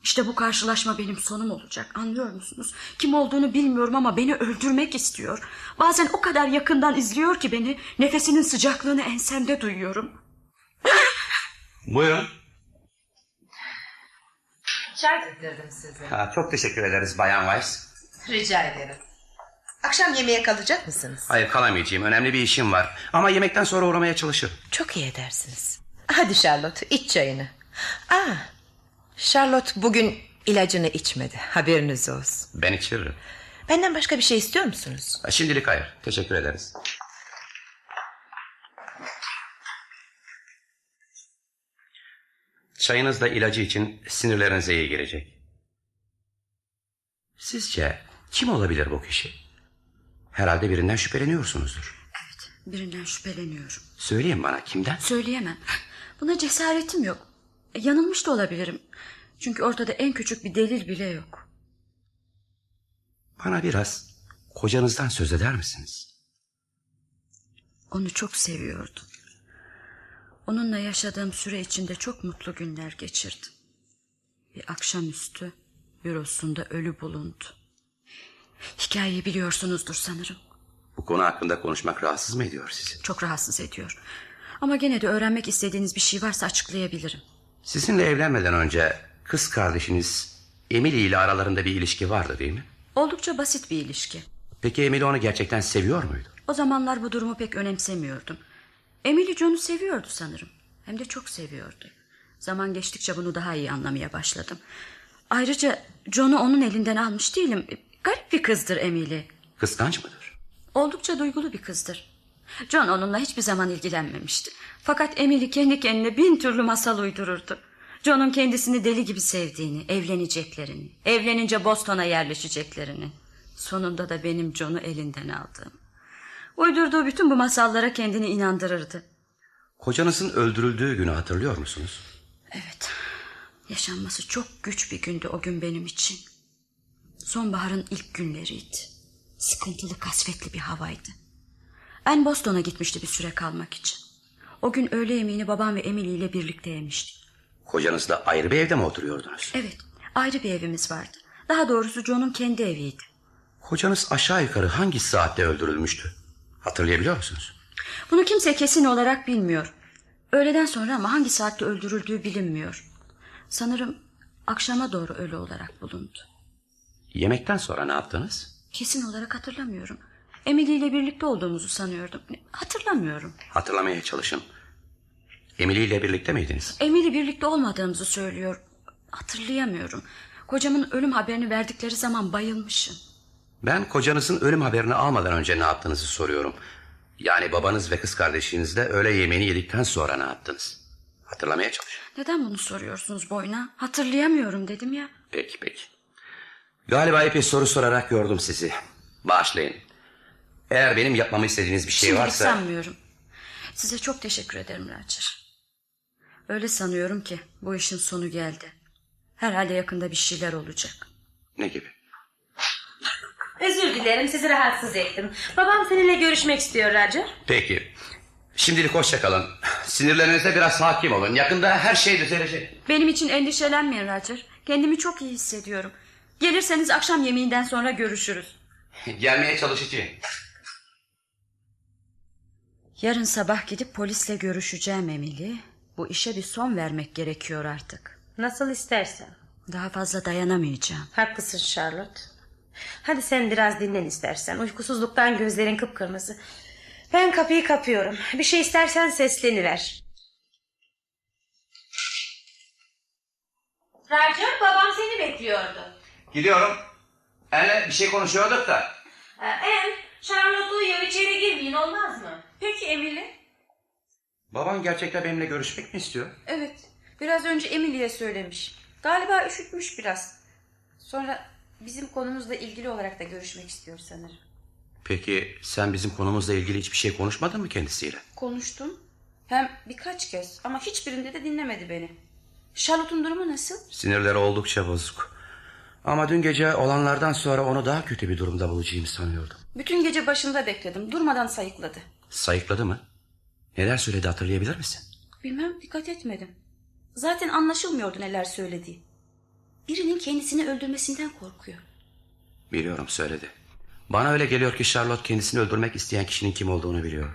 Speaker 3: İşte bu karşılaşma benim sonum olacak. Anlıyor musunuz? Kim olduğunu bilmiyorum ama beni öldürmek istiyor. Bazen o kadar yakından izliyor ki beni nefesinin sıcaklığını ensemde duyuyorum.
Speaker 7: Buyurun.
Speaker 9: Çay getirdim size.
Speaker 7: Ha, çok teşekkür ederiz Bayan Weiss.
Speaker 9: Rica ederim.
Speaker 2: Akşam yemeğe kalacak mısınız?
Speaker 7: Hayır kalamayacağım. Önemli bir işim var. Ama yemekten sonra uğramaya çalışırım.
Speaker 2: Çok iyi edersiniz. Hadi Charlotte iç çayını. Aa, Charlotte bugün ilacını içmedi. Haberiniz olsun.
Speaker 7: Ben içiririm.
Speaker 2: Benden başka bir şey istiyor musunuz?
Speaker 7: Ha, Şimdilik hayır. Teşekkür ederiz. Çayınız da ilacı için sinirlerinize iyi gelecek. Sizce kim olabilir bu kişi? Herhalde birinden şüpheleniyorsunuzdur.
Speaker 3: Birinden şüpheleniyorum.
Speaker 7: Söyleyin bana kimden?
Speaker 3: Söyleyemem. Buna cesaretim yok. E, Yanılmış da olabilirim. Çünkü ortada en küçük bir delil bile yok.
Speaker 7: Bana biraz kocanızdan söz eder misiniz?
Speaker 3: Onu çok seviyordum. Onunla yaşadığım süre içinde çok mutlu günler geçirdim. Bir akşamüstü bürosunda ölü bulundu. Hikayeyi biliyorsunuzdur sanırım.
Speaker 7: Bu konu hakkında konuşmak rahatsız mı ediyor sizi?
Speaker 3: Çok rahatsız ediyor. Ama gene de öğrenmek istediğiniz bir şey varsa açıklayabilirim.
Speaker 7: Sizinle evlenmeden önce kız kardeşiniz Emily ile aralarında bir ilişki vardı değil mi?
Speaker 3: Oldukça basit bir ilişki.
Speaker 7: Peki Emily onu gerçekten seviyor muydu?
Speaker 3: O zamanlar bu durumu pek önemsemiyordum. Emily John'u seviyordu sanırım. Hem de çok seviyordu. Zaman geçtikçe bunu daha iyi anlamaya başladım. Ayrıca John'u onun elinden almış değilim. Garip bir kızdır Emily.
Speaker 7: Kıskanç mıdır?
Speaker 3: Oldukça duygulu bir kızdır. John onunla hiçbir zaman ilgilenmemişti. Fakat Emily kendi kendine bin türlü masal uydururdu. John'un kendisini deli gibi sevdiğini, evleneceklerini, evlenince Boston'a yerleşeceklerini, sonunda da benim John'u elinden aldığım. Uydurduğu bütün bu masallara kendini inandırırdı.
Speaker 7: Kocanızın öldürüldüğü günü hatırlıyor musunuz?
Speaker 3: Evet. Yaşanması çok güç bir gündü o gün benim için. Sonbaharın ilk günleriydi. Sıkıntılı, kasvetli bir havaydı. En Boston'a gitmişti bir süre kalmak için. O gün öğle yemeğini babam ve Emily ile birlikte yemiştik.
Speaker 7: Kocanızla ayrı bir evde mi oturuyordunuz?
Speaker 3: Evet, ayrı bir evimiz vardı. Daha doğrusu John'un kendi eviydi.
Speaker 7: Kocanız aşağı yukarı hangi saatte öldürülmüştü? Hatırlayabiliyor musunuz?
Speaker 3: Bunu kimse kesin olarak bilmiyor. Öğleden sonra ama hangi saatte öldürüldüğü bilinmiyor. Sanırım akşama doğru ölü olarak bulundu.
Speaker 7: Yemekten sonra ne yaptınız?
Speaker 3: Kesin olarak hatırlamıyorum. Emily ile birlikte olduğumuzu sanıyordum. Ne- Hatırlamıyorum.
Speaker 7: Hatırlamaya çalışın. Emily ile birlikte miydiniz?
Speaker 3: Emily birlikte olmadığımızı söylüyor. Hatırlayamıyorum. Kocamın ölüm haberini verdikleri zaman bayılmışım.
Speaker 7: Ben kocanızın ölüm haberini almadan önce ne yaptığınızı soruyorum. Yani babanız ve kız kardeşinizle öğle yemeğini yedikten sonra ne yaptınız? Hatırlamaya çalışın.
Speaker 3: Neden bunu soruyorsunuz boyuna? Hatırlayamıyorum dedim ya.
Speaker 7: Peki peki. Galiba epey soru sorarak yordum sizi. Bağışlayın. Eğer benim yapmamı istediğiniz bir şey
Speaker 3: Şimdilik
Speaker 7: varsa...
Speaker 3: sanmıyorum. Size çok teşekkür ederim Roger. Öyle sanıyorum ki bu işin sonu geldi. Herhalde yakında bir şeyler olacak.
Speaker 7: Ne gibi?
Speaker 4: Özür dilerim sizi rahatsız ettim. Babam seninle görüşmek istiyor Roger.
Speaker 7: Peki. Şimdilik hoşça kalın. Sinirlerinize biraz hakim olun. Yakında her şey düzelecek.
Speaker 3: Benim için endişelenmeyin Roger. Kendimi çok iyi hissediyorum. Gelirseniz akşam yemeğinden sonra görüşürüz.
Speaker 7: Gelmeye çalışacağım.
Speaker 3: Yarın sabah gidip polisle görüşeceğim Emily. Bu işe bir son vermek gerekiyor artık.
Speaker 4: Nasıl istersen.
Speaker 3: Daha fazla dayanamayacağım.
Speaker 4: Haklısın Charlotte. Hadi sen biraz dinlen istersen. Uykusuzluktan gözlerin kıpkırmızı. Ben kapıyı kapıyorum. Bir şey istersen sesleniver.
Speaker 9: Roger babam seni bekliyordu.
Speaker 7: Gidiyorum. Ele bir şey konuşuyorduk da.
Speaker 9: Ee, Em, Charlotte uyuyor içeri girmeyin olmaz mı?
Speaker 6: Peki Emily?
Speaker 7: Baban gerçekten benimle görüşmek mi istiyor?
Speaker 6: Evet. Biraz önce Emily'ye söylemiş. Galiba üşütmüş biraz. Sonra bizim konumuzla ilgili olarak da görüşmek istiyor sanırım.
Speaker 7: Peki sen bizim konumuzla ilgili hiçbir şey konuşmadın mı kendisiyle?
Speaker 6: Konuştum. Hem birkaç kez ama hiçbirinde de dinlemedi beni. Charlotte'un durumu nasıl?
Speaker 7: Sinirleri oldukça bozuk. Ama dün gece olanlardan sonra onu daha kötü bir durumda bulacağımı sanıyordum.
Speaker 6: Bütün gece başında bekledim. Durmadan sayıkladı.
Speaker 7: Sayıkladı mı? Neler söyledi hatırlayabilir misin?
Speaker 6: Bilmem dikkat etmedim. Zaten anlaşılmıyordu neler söylediği.
Speaker 8: Birinin kendisini öldürmesinden korkuyor.
Speaker 7: Biliyorum söyledi. Bana öyle geliyor ki Charlotte kendisini öldürmek isteyen kişinin kim olduğunu biliyor.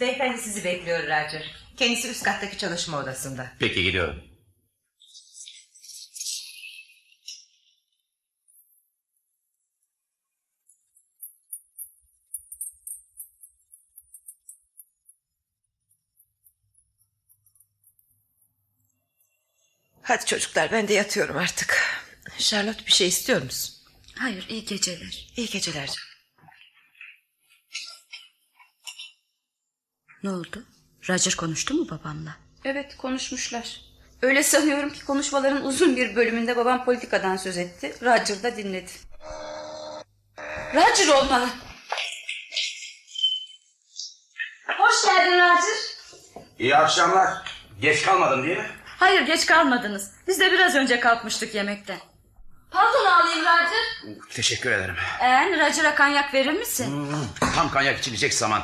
Speaker 9: Beyefendi sizi bekliyor Roger. Kendisi üst kattaki çalışma odasında.
Speaker 7: Peki gidiyorum.
Speaker 2: Hadi çocuklar ben de yatıyorum artık. Charlotte bir şey istiyor musun?
Speaker 3: Hayır iyi geceler.
Speaker 2: İyi geceler canım.
Speaker 3: Ne oldu? Roger konuştu mu babamla?
Speaker 6: Evet konuşmuşlar. Öyle sanıyorum ki konuşmaların uzun bir bölümünde babam politikadan söz etti. Roger da dinledi. Roger olmalı.
Speaker 9: Hoş geldin Roger.
Speaker 7: İyi akşamlar. Geç kalmadın değil mi?
Speaker 3: Hayır geç kalmadınız. Biz de biraz önce kalkmıştık yemekten.
Speaker 9: Pantolon alayım Roger.
Speaker 7: Teşekkür ederim.
Speaker 3: En Ee, Roger'a kanyak verir misin?
Speaker 7: Tam kanyak içilecek zaman.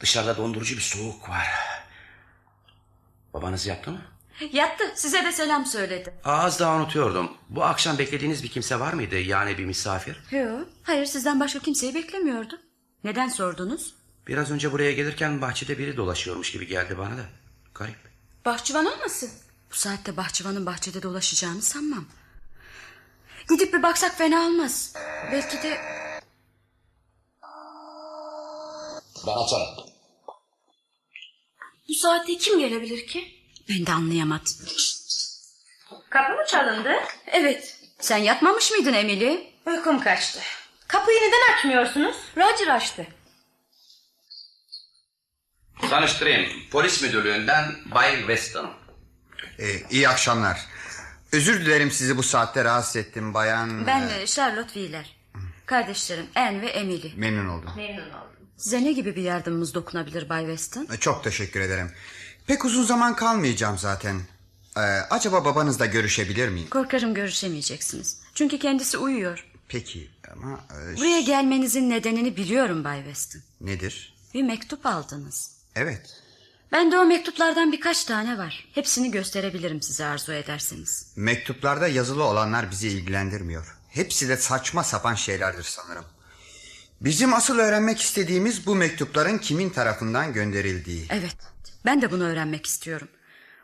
Speaker 7: Dışarıda dondurucu bir soğuk var. Babanız yaptı mı?
Speaker 3: Yattı size de selam söyledi.
Speaker 7: Az daha unutuyordum. Bu akşam beklediğiniz bir kimse var mıydı? Yani bir misafir.
Speaker 3: Yok. Hayır sizden başka kimseyi beklemiyordum. Neden sordunuz?
Speaker 7: Biraz önce buraya gelirken bahçede biri dolaşıyormuş gibi geldi bana da. Garip.
Speaker 6: Bahçıvan olmasın?
Speaker 3: Bu saatte bahçıvanın bahçede dolaşacağını sanmam. Gidip bir baksak fena olmaz. Belki de
Speaker 7: Ben açarım.
Speaker 8: Bu saatte kim gelebilir ki?
Speaker 3: ben de anlayamadım.
Speaker 4: Kapı mı çalındı?
Speaker 6: Evet.
Speaker 3: Sen yatmamış mıydın Emily?
Speaker 4: Uykum kaçtı. Kapıyı neden açmıyorsunuz?
Speaker 6: Roger açtı.
Speaker 7: Tanıştırayım. Polis müdürlüğünden Bay Weston.
Speaker 10: Ee, iyi akşamlar. Özür dilerim sizi bu saatte rahatsız ettim bayan.
Speaker 3: Ben e, Charlotte Wheeler. Kardeşlerim Anne ve Emily.
Speaker 10: Memnun oldum.
Speaker 9: Memnun oldum.
Speaker 3: Size ne gibi bir yardımımız dokunabilir Bay Weston?
Speaker 10: E, Çok teşekkür ederim. Pek uzun zaman kalmayacağım zaten. E, acaba babanızla görüşebilir miyim?
Speaker 3: Korkarım görüşemeyeceksiniz. Çünkü kendisi uyuyor.
Speaker 10: Peki ama e, ş-
Speaker 3: Buraya gelmenizin nedenini biliyorum Bay Weston.
Speaker 10: nedir?
Speaker 3: Bir mektup aldınız.
Speaker 10: Evet.
Speaker 3: Ben de o mektuplardan birkaç tane var. Hepsini gösterebilirim size arzu ederseniz.
Speaker 10: Mektuplarda yazılı olanlar bizi ilgilendirmiyor. Hepsi de saçma sapan şeylerdir sanırım. Bizim asıl öğrenmek istediğimiz bu mektupların kimin tarafından gönderildiği.
Speaker 3: Evet, ben de bunu öğrenmek istiyorum.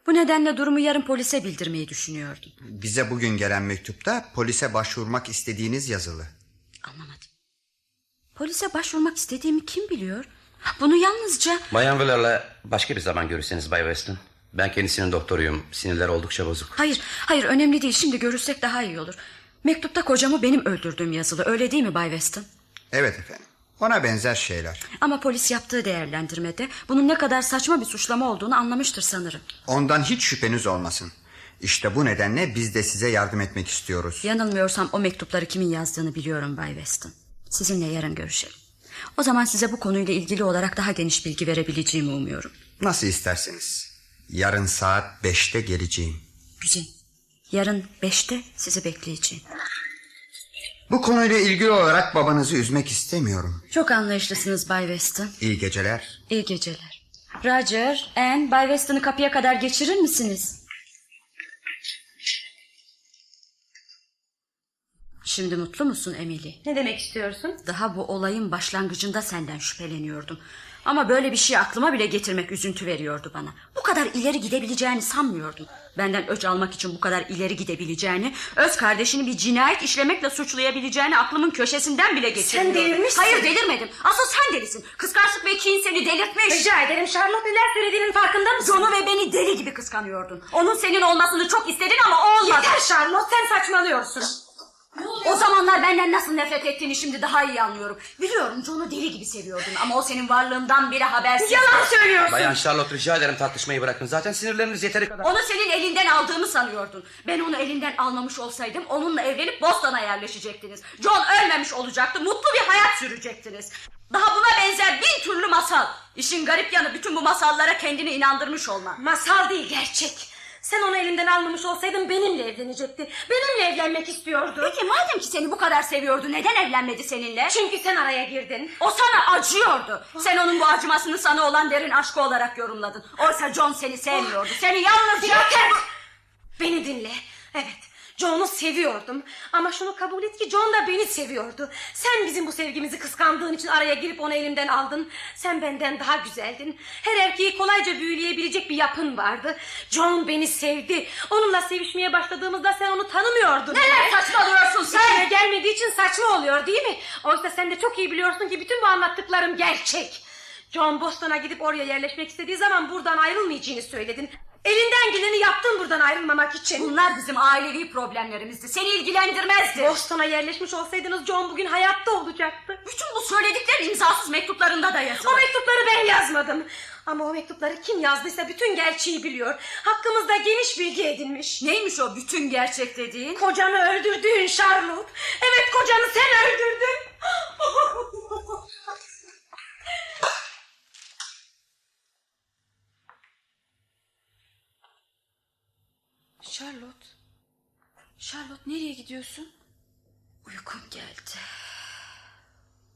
Speaker 3: Bu nedenle durumu yarın polise bildirmeyi düşünüyordum.
Speaker 10: Bize bugün gelen mektupta polise başvurmak istediğiniz yazılı.
Speaker 3: Anlamadım. Polise başvurmak istediğimi kim biliyor? Bunu yalnızca
Speaker 7: Bayan Weller'la başka bir zaman görürseniz Bay Weston. Ben kendisinin doktoruyum. Sinirleri oldukça bozuk.
Speaker 3: Hayır, hayır önemli değil. Şimdi görüşsek daha iyi olur. Mektupta kocamı benim öldürdüğüm yazılı. Öyle değil mi Bay Weston?
Speaker 10: Evet efendim. Ona benzer şeyler.
Speaker 3: Ama polis yaptığı değerlendirmede bunun ne kadar saçma bir suçlama olduğunu anlamıştır sanırım.
Speaker 10: Ondan hiç şüpheniz olmasın. İşte bu nedenle biz de size yardım etmek istiyoruz.
Speaker 3: Yanılmıyorsam o mektupları kimin yazdığını biliyorum Bay Weston. Sizinle yarın görüşelim. O zaman size bu konuyla ilgili olarak daha geniş bilgi verebileceğimi umuyorum.
Speaker 10: Nasıl isterseniz. Yarın saat 5'te geleceğim.
Speaker 3: Güzel. Yarın beşte sizi bekleyeceğim.
Speaker 10: Bu konuyla ilgili olarak babanızı üzmek istemiyorum.
Speaker 3: Çok anlayışlısınız Bay Weston.
Speaker 10: İyi geceler.
Speaker 3: İyi geceler. Roger, Anne, Bay Weston'ı kapıya kadar geçirir misiniz? Şimdi mutlu musun Emily?
Speaker 4: Ne demek istiyorsun?
Speaker 3: Daha bu olayın başlangıcında senden şüpheleniyordum. Ama böyle bir şey aklıma bile getirmek üzüntü veriyordu bana. Bu kadar ileri gidebileceğini sanmıyordum. Benden öç almak için bu kadar ileri gidebileceğini, öz kardeşini bir cinayet işlemekle suçlayabileceğini aklımın köşesinden bile geçirmiyordum.
Speaker 4: delirmişsin.
Speaker 3: Hayır delirmedim. Asıl sen delisin. Kıskançlık ve kin seni delirtmiş.
Speaker 4: Rica ederim Charlotte neler söylediğinin farkında mısın?
Speaker 3: John'u ve beni deli gibi kıskanıyordun. Onun senin olmasını çok istedin ama olmadı.
Speaker 4: Yeter Charlotte sen saçmalıyorsun.
Speaker 3: O zamanlar benden nasıl nefret ettiğini şimdi daha iyi anlıyorum. Biliyorum John'u deli gibi seviyordun ama o senin varlığından bile habersiz.
Speaker 4: Yalan söylüyorsun.
Speaker 7: Bayan Charlotte rica ederim tartışmayı bırakın. Zaten sinirleriniz yeteri kadar...
Speaker 3: Onu senin elinden aldığımı sanıyordun. Ben onu elinden almamış olsaydım onunla evlenip Boston'a yerleşecektiniz. John ölmemiş olacaktı. Mutlu bir hayat sürecektiniz. Daha buna benzer bin türlü masal. İşin garip yanı bütün bu masallara kendini inandırmış olman.
Speaker 4: Masal değil gerçek. Sen onu elinden almamış olsaydın benimle evlenecekti. Benimle evlenmek istiyordu.
Speaker 3: Peki madem ki seni bu kadar seviyordu neden evlenmedi seninle?
Speaker 4: Çünkü sen araya girdin.
Speaker 3: O sana acıyordu. Sen onun bu acımasını sana olan derin aşkı olarak yorumladın. Oysa John seni sevmiyordu. Seni yalnızca...
Speaker 4: Yeter! Beni dinle. Evet. John'u seviyordum. Ama şunu kabul et ki John da beni seviyordu. Sen bizim bu sevgimizi kıskandığın için araya girip onu elimden aldın. Sen benden daha güzeldin. Her erkeği kolayca büyüleyebilecek bir yapın vardı. John beni sevdi. Onunla sevişmeye başladığımızda sen onu tanımıyordun.
Speaker 3: Neler saçmalıyorsun sen?
Speaker 4: Buraya gelmediği için saçma oluyor değil mi? Oysa sen de çok iyi biliyorsun ki bütün bu anlattıklarım gerçek. John Boston'a gidip oraya yerleşmek istediği zaman buradan ayrılmayacağını söyledin. Elinden geleni yaptın buradan ayrılmamak için.
Speaker 3: Bunlar bizim ailevi problemlerimizdi. Seni ilgilendirmezdi.
Speaker 4: Boston'a yerleşmiş olsaydınız John bugün hayatta olacaktı.
Speaker 3: Bütün bu söylediklerin imzasız mektuplarında da yazılı.
Speaker 4: O mektupları ben yazmadım. Ama o mektupları kim yazdıysa bütün gerçeği biliyor. Hakkımızda geniş bilgi edinmiş.
Speaker 3: Neymiş o bütün gerçek dediğin?
Speaker 4: Kocanı öldürdün Charlotte. Evet kocanı sen öldürdün.
Speaker 6: Charlotte. Charlotte nereye gidiyorsun?
Speaker 3: Uykum geldi.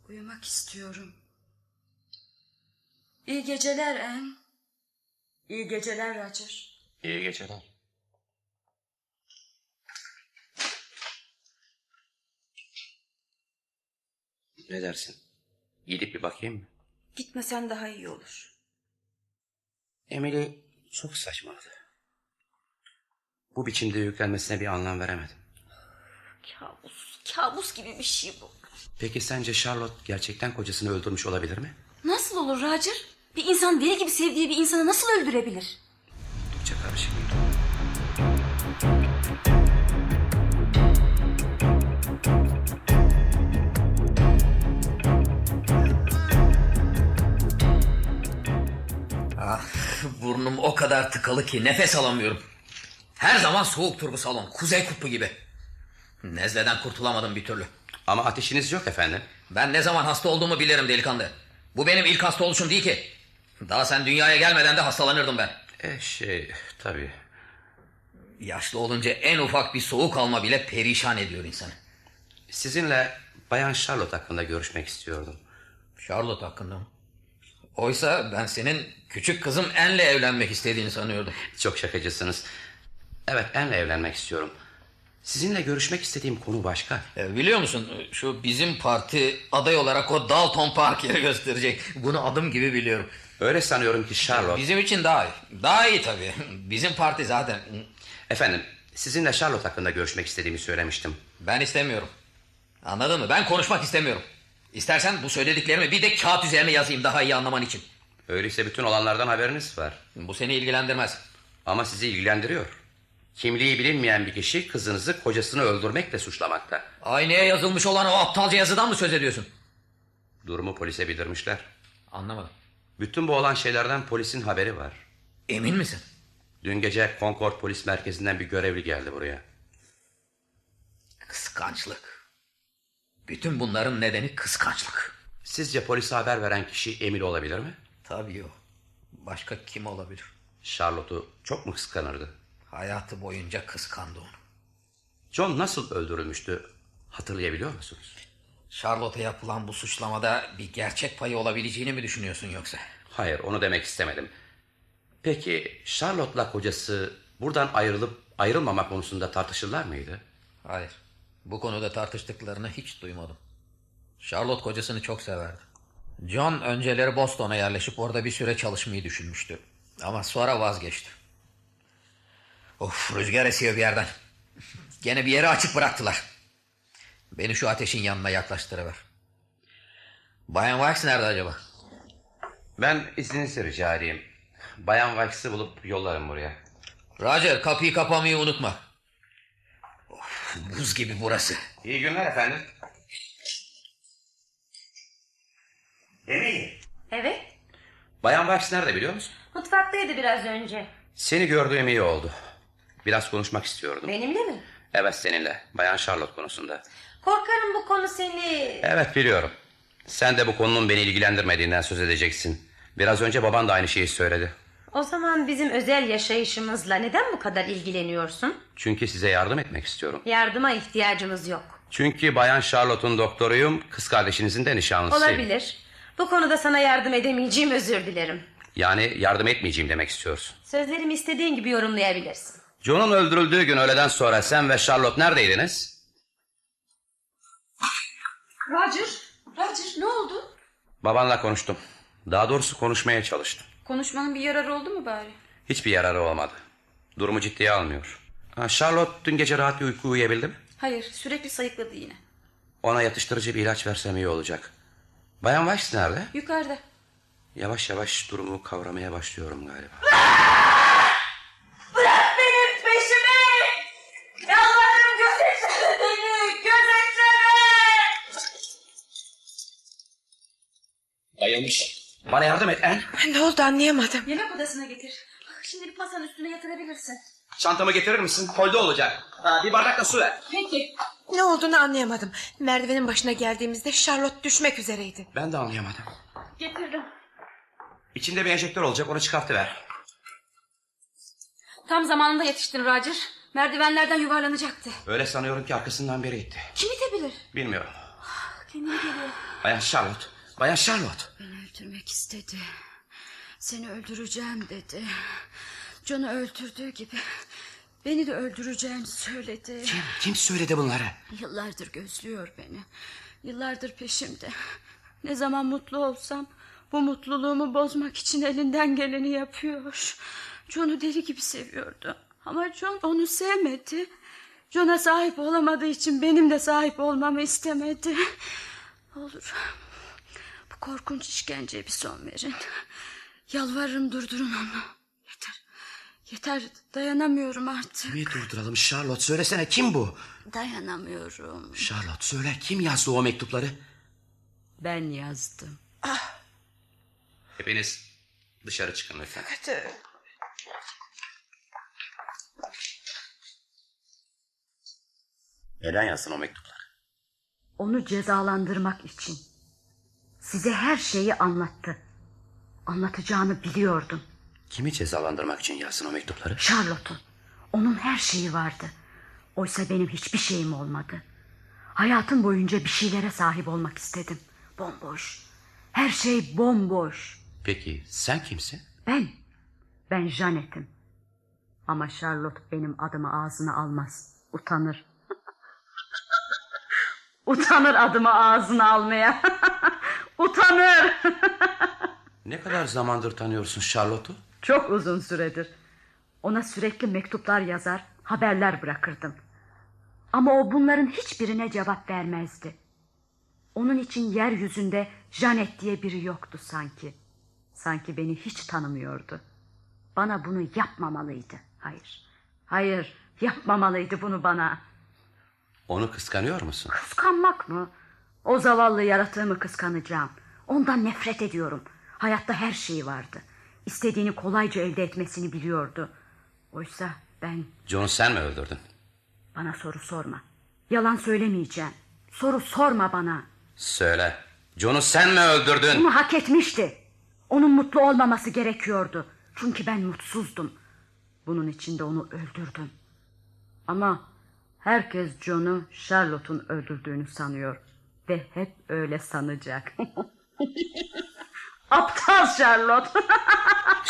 Speaker 3: Uyumak istiyorum. İyi geceler Em. İyi geceler Roger.
Speaker 7: İyi geceler. Ne dersin? Gidip bir bakayım mı?
Speaker 6: Gitmesen daha iyi olur.
Speaker 7: Emily çok saçmaladı. Bu biçimde yüklenmesine bir anlam veremedim.
Speaker 6: Kabus, kabus gibi bir şey bu.
Speaker 7: Peki sence Charlotte gerçekten kocasını öldürmüş olabilir mi?
Speaker 8: Nasıl olur Roger? Bir insan deli gibi sevdiği bir insanı nasıl öldürebilir?
Speaker 7: Oldukça karışık bir durum.
Speaker 5: Ah, burnum o kadar tıkalı ki nefes alamıyorum. Her zaman soğuktur bu salon. Kuzey kutbu gibi. Nezleden kurtulamadım bir türlü.
Speaker 7: Ama ateşiniz yok efendim.
Speaker 5: Ben ne zaman hasta olduğumu bilirim delikanlı. Bu benim ilk hasta oluşum değil ki. Daha sen dünyaya gelmeden de hastalanırdım ben.
Speaker 7: E şey tabii.
Speaker 5: Yaşlı olunca en ufak bir soğuk alma bile perişan ediyor insanı.
Speaker 7: Sizinle Bayan Charlotte hakkında görüşmek istiyordum.
Speaker 5: Charlotte hakkında mı? Oysa ben senin küçük kızım Anne'le evlenmek istediğini sanıyordum.
Speaker 7: Çok şakacısınız. Evet Anne'le evlenmek istiyorum. Sizinle görüşmek istediğim konu başka.
Speaker 5: E, biliyor musun şu bizim parti aday olarak o Dalton Parker'ı gösterecek. Bunu adım gibi biliyorum.
Speaker 7: Öyle sanıyorum ki Charlotte...
Speaker 5: Bizim için daha iyi. Daha iyi tabii. Bizim parti zaten.
Speaker 7: Efendim sizinle Charlotte hakkında görüşmek istediğimi söylemiştim.
Speaker 5: Ben istemiyorum. Anladın mı? Ben konuşmak istemiyorum. İstersen bu söylediklerimi bir de kağıt üzerine yazayım daha iyi anlaman için.
Speaker 7: Öyleyse bütün olanlardan haberiniz var.
Speaker 5: Bu seni ilgilendirmez.
Speaker 7: Ama sizi ilgilendiriyor. Kimliği bilinmeyen bir kişi kızınızı kocasını öldürmekle suçlamakta.
Speaker 5: Aynaya yazılmış olan o aptalca yazıdan mı söz ediyorsun?
Speaker 7: Durumu polise bildirmişler.
Speaker 5: Anlamadım.
Speaker 7: Bütün bu olan şeylerden polisin haberi var.
Speaker 5: Emin misin?
Speaker 7: Dün gece Concord Polis Merkezi'nden bir görevli geldi buraya.
Speaker 5: Kıskançlık. Bütün bunların nedeni kıskançlık.
Speaker 7: Sizce polise haber veren kişi Emil olabilir mi?
Speaker 5: Tabii o. Başka kim olabilir?
Speaker 7: Charlotte'u çok mu kıskanırdı?
Speaker 5: Hayatı boyunca kıskandı onu.
Speaker 7: John nasıl öldürülmüştü hatırlayabiliyor musunuz?
Speaker 5: Charlotte'a yapılan bu suçlamada bir gerçek payı olabileceğini mi düşünüyorsun yoksa?
Speaker 7: Hayır onu demek istemedim. Peki Charlotte'la kocası buradan ayrılıp ayrılmama konusunda tartışırlar mıydı?
Speaker 5: Hayır. Bu konuda tartıştıklarını hiç duymadım. Charlotte kocasını çok severdi. John önceleri Boston'a yerleşip orada bir süre çalışmayı düşünmüştü. Ama sonra vazgeçti. Of rüzgar esiyor bir yerden. Gene bir yere açık bıraktılar. Beni şu ateşin yanına yaklaştırıver. Bayan Wax nerede acaba?
Speaker 7: Ben izninizi rica edeyim. Bayan Wax'ı bulup yollarım buraya.
Speaker 5: Roger kapıyı kapamayı unutma. Of, buz gibi burası.
Speaker 7: İyi günler efendim. Emily.
Speaker 11: Evet.
Speaker 7: Bayan Wax nerede biliyor musun?
Speaker 11: Mutfaktaydı biraz önce.
Speaker 7: Seni gördüğüm iyi oldu. Biraz konuşmak istiyordum.
Speaker 11: Benimle mi?
Speaker 7: Evet seninle. Bayan Charlotte konusunda.
Speaker 11: Korkarım bu konu seni...
Speaker 7: Evet biliyorum. Sen de bu konunun beni ilgilendirmediğinden söz edeceksin. Biraz önce baban da aynı şeyi söyledi.
Speaker 4: O zaman bizim özel yaşayışımızla neden bu kadar ilgileniyorsun?
Speaker 7: Çünkü size yardım etmek istiyorum.
Speaker 4: Yardıma ihtiyacımız yok.
Speaker 7: Çünkü Bayan Charlotte'un doktoruyum, kız kardeşinizin de nişanlısıyım.
Speaker 4: Olabilir. Bu konuda sana yardım edemeyeceğim özür dilerim.
Speaker 7: Yani yardım etmeyeceğim demek istiyorsun.
Speaker 4: Sözlerimi istediğin gibi yorumlayabilirsin.
Speaker 7: John'un öldürüldüğü gün öğleden sonra sen ve Charlotte neredeydiniz?
Speaker 6: Roger, Roger ne oldu?
Speaker 7: Babanla konuştum. Daha doğrusu konuşmaya çalıştım.
Speaker 6: Konuşmanın bir yararı oldu mu bari?
Speaker 7: Hiçbir yararı olmadı. Durumu ciddiye almıyor. Ha, Charlotte dün gece rahat bir uyku uyuyabildi mi?
Speaker 6: Hayır, sürekli sayıkladı yine.
Speaker 7: Ona yatıştırıcı bir ilaç versem iyi olacak. Bayan Weiss nerede?
Speaker 6: Yukarıda.
Speaker 7: Yavaş yavaş durumu kavramaya başlıyorum galiba.
Speaker 11: Bırak beni peşime! Yalvarırım gözetleme beni! Gözetleme!
Speaker 7: Dayamış. Bana yardım et en.
Speaker 2: Ne oldu anlayamadım.
Speaker 6: Yemek odasına getir. Şimdi bir pasanın üstüne yatırabilirsin.
Speaker 7: Çantamı getirir misin? Kolda olacak. Ha, bir bardak da su ver.
Speaker 6: Peki.
Speaker 2: Ne olduğunu anlayamadım. Merdivenin başına geldiğimizde Charlotte düşmek üzereydi.
Speaker 7: Ben de anlayamadım.
Speaker 6: Getirdim.
Speaker 7: İçinde bir enjektör olacak onu çıkartıver.
Speaker 6: Tam zamanında yetiştin Roger. Merdivenlerden yuvarlanacaktı.
Speaker 7: Öyle sanıyorum ki arkasından biri gitti.
Speaker 6: Kim itebilir?
Speaker 7: Bilmiyorum.
Speaker 6: Kendine geliyor.
Speaker 7: Bayan Charlotte. Bayan Charlotte.
Speaker 3: Beni öldürmek istedi. Seni öldüreceğim dedi. Can'ı öldürdüğü gibi beni de öldüreceğini söyledi.
Speaker 7: Kim söyledi bunları?
Speaker 3: Yıllardır gözlüyor beni. Yıllardır peşimde. Ne zaman mutlu olsam bu mutluluğumu bozmak için elinden geleni yapıyor. John'u deli gibi seviyordu. Ama John onu sevmedi. John'a sahip olamadığı için benim de sahip olmamı istemedi. Olur. Bu korkunç işkenceye bir son verin. Yalvarırım durdurun onu. Yeter. Yeter dayanamıyorum artık.
Speaker 7: Kimi durduralım Charlotte söylesene kim bu?
Speaker 3: Dayanamıyorum.
Speaker 7: Charlotte söyle kim yazdı o mektupları?
Speaker 3: Ben yazdım.
Speaker 7: Hepiniz dışarı çıkın lütfen.
Speaker 2: Kötü.
Speaker 7: Neden yazdın o mektupları?
Speaker 3: Onu cezalandırmak için. Size her şeyi anlattı. Anlatacağını biliyordum.
Speaker 7: Kimi cezalandırmak için yazdın o mektupları?
Speaker 3: Charlotte'un. Onun her şeyi vardı. Oysa benim hiçbir şeyim olmadı. Hayatım boyunca bir şeylere sahip olmak istedim. Bomboş. Her şey bomboş.
Speaker 7: Peki sen kimsin?
Speaker 3: Ben, ben Janet'im. Ama Charlotte benim adımı ağzına almaz. Utanır. Utanır adımı ağzına almaya. Utanır.
Speaker 7: Ne kadar zamandır tanıyorsun Charlotte'u?
Speaker 3: Çok uzun süredir. Ona sürekli mektuplar yazar, haberler bırakırdım. Ama o bunların hiçbirine cevap vermezdi. Onun için yeryüzünde Janet diye biri yoktu sanki. Sanki beni hiç tanımıyordu. Bana bunu yapmamalıydı. Hayır. Hayır, yapmamalıydı bunu bana.
Speaker 7: Onu kıskanıyor musun?
Speaker 3: Kıskanmak mı? O zavallı yaratığımı kıskanacağım. Ondan nefret ediyorum. Hayatta her şeyi vardı. İstediğini kolayca elde etmesini biliyordu. Oysa ben
Speaker 7: John'u sen mi öldürdün?
Speaker 3: bana soru sorma. Yalan söylemeyeceğim. Soru sorma bana.
Speaker 7: Söyle. John'u sen mi öldürdün?
Speaker 3: Bunu hak etmişti. Onun mutlu olmaması gerekiyordu. Çünkü ben mutsuzdum. Bunun için de onu öldürdüm. Ama herkes John'u Charlotte'un öldürdüğünü sanıyor. Ve hep öyle sanacak. Aptal Charlotte.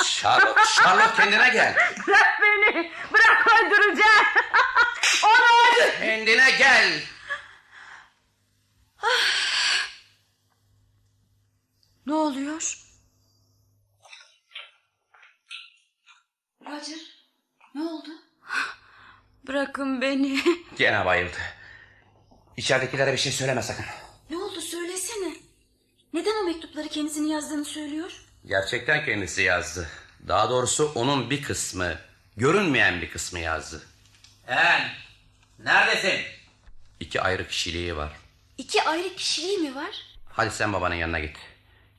Speaker 7: Charlotte, Charlotte kendine gel.
Speaker 3: Bırak beni. Bırak öldüreceğim. Onu öldür.
Speaker 7: Kendine gel.
Speaker 3: Ah. Ne oluyor?
Speaker 8: Roger ne oldu?
Speaker 3: Bırakın beni.
Speaker 7: Gene bayıldı. İçeridekilere bir şey söyleme sakın.
Speaker 8: Ne oldu söylesene. Neden o mektupları kendisini yazdığını söylüyor?
Speaker 7: Gerçekten kendisi yazdı. Daha doğrusu onun bir kısmı, görünmeyen bir kısmı yazdı.
Speaker 5: Hen, neredesin?
Speaker 7: İki ayrı kişiliği var.
Speaker 8: İki ayrı kişiliği mi var?
Speaker 7: Hadi sen babanın yanına git.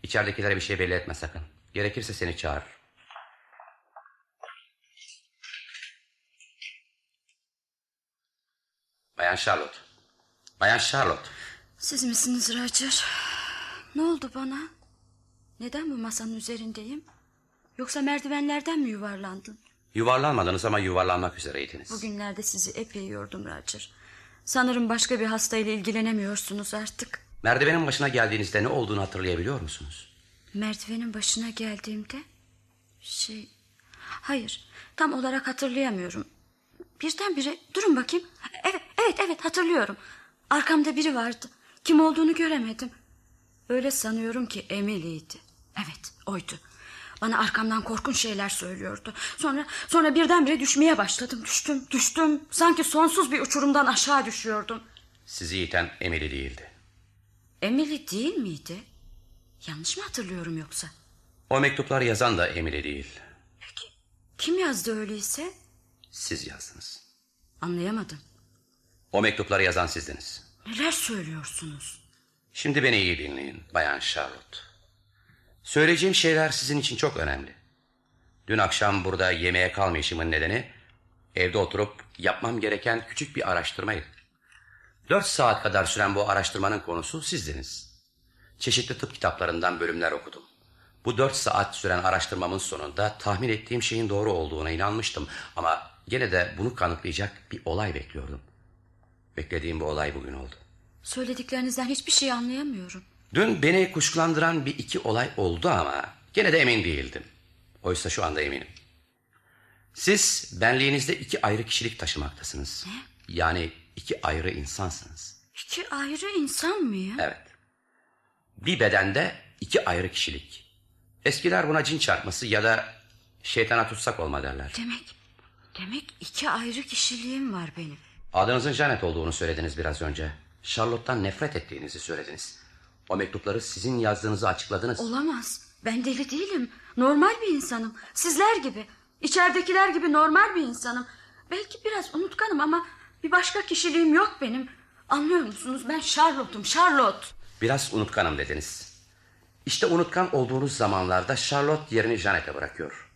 Speaker 7: İçeridekilere bir şey belli etme sakın. Gerekirse seni çağırır. Bayan Charlotte. Bayan Charlotte.
Speaker 3: Siz misiniz Roger? Ne oldu bana? Neden bu masanın üzerindeyim? Yoksa merdivenlerden mi yuvarlandım?
Speaker 7: Yuvarlanmadınız ama yuvarlanmak üzereydiniz.
Speaker 3: Bugünlerde sizi epey yordum Roger. Sanırım başka bir hastayla ilgilenemiyorsunuz artık.
Speaker 7: Merdivenin başına geldiğinizde ne olduğunu hatırlayabiliyor musunuz?
Speaker 3: Merdivenin başına geldiğimde... Şey... Hayır, tam olarak hatırlayamıyorum. Birdenbire... Durun bakayım. Evet, evet, evet hatırlıyorum. Arkamda biri vardı. Kim olduğunu göremedim. Öyle sanıyorum ki Emily'ydi. Evet, oydu. Bana arkamdan korkunç şeyler söylüyordu. Sonra sonra birdenbire düşmeye başladım. Düştüm, düştüm. Sanki sonsuz bir uçurumdan aşağı düşüyordum.
Speaker 7: Sizi iten Emily değildi.
Speaker 3: Emily değil miydi? Yanlış mı hatırlıyorum yoksa?
Speaker 7: O mektuplar yazan da Emily değil.
Speaker 3: Kim yazdı öyleyse?
Speaker 7: Siz yazdınız.
Speaker 3: Anlayamadım.
Speaker 7: O mektupları yazan sizdiniz.
Speaker 3: Neler söylüyorsunuz?
Speaker 7: Şimdi beni iyi dinleyin Bayan Charlotte. Söyleyeceğim şeyler sizin için çok önemli. Dün akşam burada yemeğe kalmayışımın nedeni evde oturup yapmam gereken küçük bir araştırmaydı. Dört saat kadar süren bu araştırmanın konusu sizdiniz. Çeşitli tıp kitaplarından bölümler okudum. Bu dört saat süren araştırmamın sonunda tahmin ettiğim şeyin doğru olduğuna inanmıştım. Ama gene de bunu kanıtlayacak bir olay bekliyordum. Beklediğim bu olay bugün oldu.
Speaker 3: Söylediklerinizden hiçbir şey anlayamıyorum.
Speaker 7: Dün beni kuşkulandıran bir iki olay oldu ama gene de emin değildim. Oysa şu anda eminim. Siz benliğinizde iki ayrı kişilik taşımaktasınız. Yani iki ayrı insansınız.
Speaker 3: İki ayrı insan mıyım?
Speaker 7: Evet. Bir bedende iki ayrı kişilik. Eskiler buna cin çarpması ya da şeytana tutsak olma derler.
Speaker 3: Demek, demek iki ayrı kişiliğim var benim.
Speaker 7: Adınızın Janet olduğunu söylediniz biraz önce. Charlotte'tan nefret ettiğinizi söylediniz. O mektupları sizin yazdığınızı açıkladınız.
Speaker 3: Olamaz. Ben deli değilim. Normal bir insanım. Sizler gibi. İçeridekiler gibi normal bir insanım. Belki biraz unutkanım ama bir başka kişiliğim yok benim. Anlıyor musunuz? Ben Charlotte'um. Charlotte.
Speaker 7: Biraz unutkanım dediniz. İşte unutkan olduğunuz zamanlarda Charlotte yerini Janet'e bırakıyor.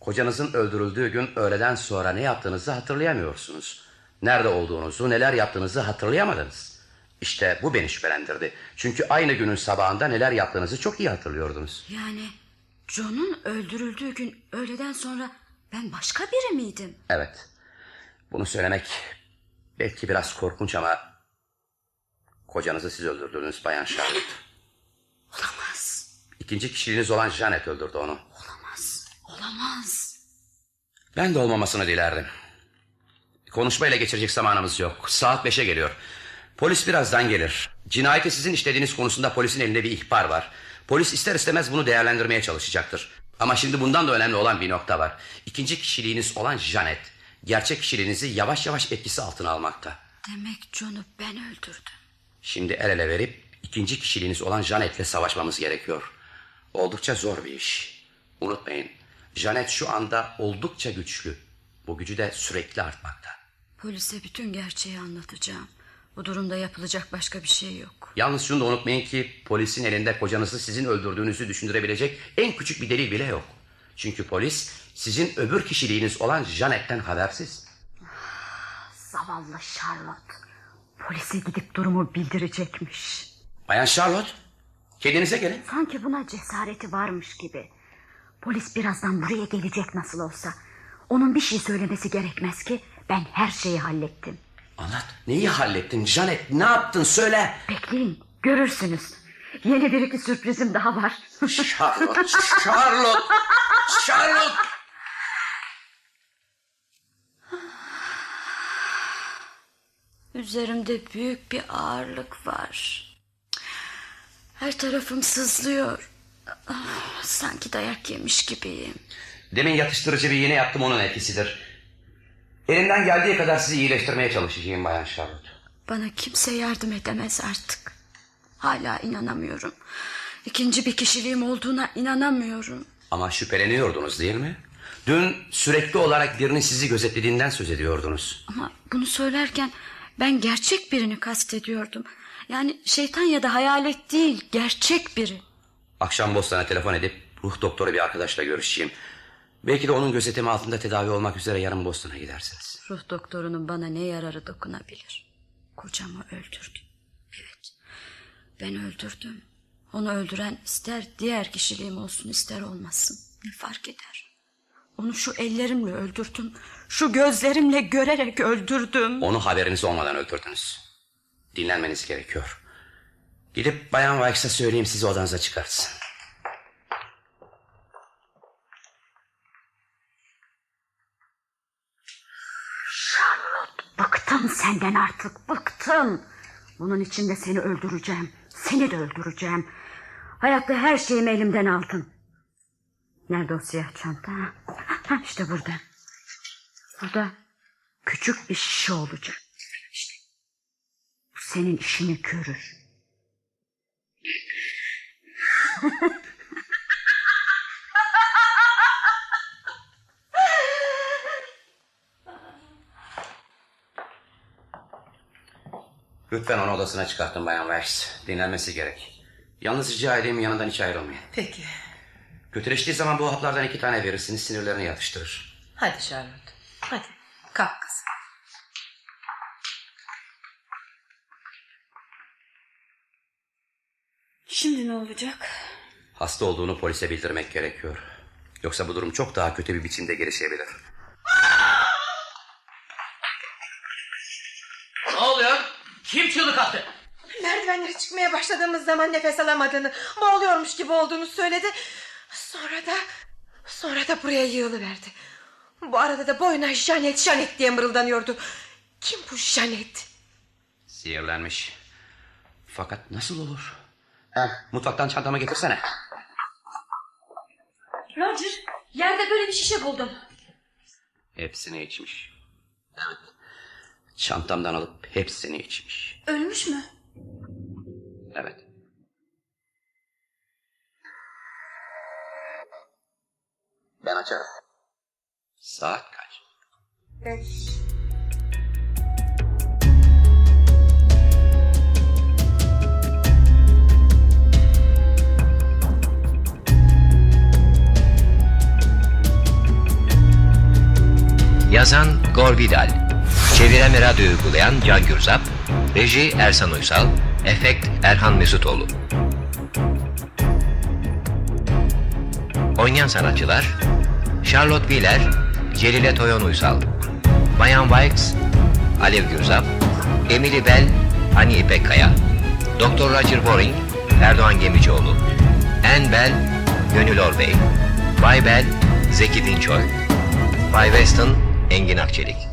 Speaker 7: Kocanızın öldürüldüğü gün öğleden sonra ne yaptığınızı hatırlayamıyorsunuz. Nerede olduğunuzu, neler yaptığınızı hatırlayamadınız. İşte bu beni şüphelendirdi. Çünkü aynı günün sabahında neler yaptığınızı çok iyi hatırlıyordunuz.
Speaker 3: Yani John'un öldürüldüğü gün öğleden sonra ben başka biri miydim?
Speaker 7: Evet. Bunu söylemek belki biraz korkunç ama kocanızı siz öldürdünüz Bayan Charlotte.
Speaker 3: Olamaz.
Speaker 7: İkinci kişiliğiniz olan Janet öldürdü onu.
Speaker 3: Olamaz. Olamaz.
Speaker 7: Ben de olmamasını dilerdim. Konuşmayla geçirecek zamanımız yok. Saat beşe geliyor. Polis birazdan gelir. Cinayeti sizin işlediğiniz konusunda polisin elinde bir ihbar var. Polis ister istemez bunu değerlendirmeye çalışacaktır. Ama şimdi bundan da önemli olan bir nokta var. İkinci kişiliğiniz olan Janet, gerçek kişiliğinizi yavaş yavaş etkisi altına almakta.
Speaker 3: Demek John'u ben öldürdüm.
Speaker 7: Şimdi el ele verip ikinci kişiliğiniz olan Janet'le savaşmamız gerekiyor. Oldukça zor bir iş. Unutmayın, Janet şu anda oldukça güçlü. Bu gücü de sürekli artmakta.
Speaker 3: Polise bütün gerçeği anlatacağım. Bu durumda yapılacak başka bir şey yok.
Speaker 7: Yalnız şunu da unutmayın ki polisin elinde kocanızı sizin öldürdüğünüzü düşündürebilecek en küçük bir delil bile yok. Çünkü polis sizin öbür kişiliğiniz olan Janet'ten habersiz.
Speaker 3: Zavallı Charlotte. Polise gidip durumu bildirecekmiş.
Speaker 7: Bayan Charlotte, kendinize gelin.
Speaker 3: Sanki buna cesareti varmış gibi. Polis birazdan buraya gelecek nasıl olsa. Onun bir şey söylemesi gerekmez ki. Ben her şeyi hallettim.
Speaker 7: Anlat. Neyi hallettin Janet? Ne yaptın söyle.
Speaker 3: Bekleyin, görürsünüz. Yeni bir iki sürprizim daha var.
Speaker 7: Charlotte, Charlotte, Charlotte.
Speaker 3: Üzerimde büyük bir ağırlık var. Her tarafım sızlıyor. Sanki dayak yemiş gibiyim.
Speaker 8: Demin yatıştırıcı bir iğne yaptım onun etkisidir. Elimden geldiği kadar sizi iyileştirmeye çalışacağım Bayan Charlotte.
Speaker 3: Bana kimse yardım edemez artık. Hala inanamıyorum. İkinci bir kişiliğim olduğuna inanamıyorum.
Speaker 8: Ama şüpheleniyordunuz değil mi? Dün sürekli olarak birinin sizi gözetlediğinden söz ediyordunuz.
Speaker 3: Ama bunu söylerken ben gerçek birini kastediyordum. Yani şeytan ya da hayalet değil, gerçek biri.
Speaker 8: Akşam Bostan'a telefon edip ruh doktoru bir arkadaşla görüşeceğim. Belki de onun gözetimi altında tedavi olmak üzere yarın Bostan'a gidersiniz.
Speaker 3: Ruh doktorunun bana ne yararı dokunabilir? Kocamı öldürdü. Evet. Ben öldürdüm. Onu öldüren ister diğer kişiliğim olsun ister olmasın. Ne fark eder? Onu şu ellerimle öldürdüm. Şu gözlerimle görerek öldürdüm.
Speaker 8: Onu haberiniz olmadan öldürdünüz. Dinlenmeniz gerekiyor. Gidip Bayan Wykes'a söyleyeyim sizi odanıza çıkartsın.
Speaker 3: Charlotte bıktım senden artık bıktım. Bunun için de seni öldüreceğim. Seni de öldüreceğim. Hayatta her şeyimi elimden aldın. Nerede o siyah çanta? Ha, ha, işte burada. Burada küçük bir şişe olacak. İşte. Bu senin işini görür.
Speaker 8: Lütfen onu odasına çıkartın Bayan Weiss. Dinlenmesi gerek. Yalnız rica edeyim yanından hiç ayrılmayın.
Speaker 2: Peki.
Speaker 8: Kötüleştiği zaman bu haplardan iki tane verirsiniz sinirlerini yatıştırır.
Speaker 2: Hadi Charlotte. Hadi. Kalk kızım.
Speaker 12: Şimdi ne olacak?
Speaker 8: Hasta olduğunu polise bildirmek gerekiyor. Yoksa bu durum çok daha kötü bir biçimde gelişebilir.
Speaker 13: Ne oluyor? Kim çığlık attı?
Speaker 2: Merdivenlere çıkmaya başladığımız zaman nefes alamadığını, boğuluyormuş gibi olduğunu söyledi. Sonra da sonra da buraya yığılıverdi. Bu arada da boyuna Janet Janet diye mırıldanıyordu. Kim bu Janet?
Speaker 8: Sihirlenmiş. Fakat nasıl olur? Heh, mutfaktan çantama getirsene.
Speaker 14: Roger yerde böyle bir şişe buldum.
Speaker 8: Hepsini içmiş. Evet. Çantamdan alıp hepsini içmiş.
Speaker 14: Ölmüş mü?
Speaker 8: Evet. Ben açarım. Saat kaç?
Speaker 7: Yazan Gor Vidal. Çeviren ve radyo uygulayan Can Gürzap. Reji Ersan Uysal. Efekt Erhan Mesutoğlu. Oynayan sanatçılar Charlotte Wheeler, Celile Toyon Uysal, Bayan Wykes, Alev Gürzap, Emily Bell, Hani İpekkaya, Doktor Roger Boring, Erdoğan Gemicioğlu, Ann Bell, Gönül Orbey, Bay Bell, Zeki Dinçoy, Bay Weston, Engin Akçelik.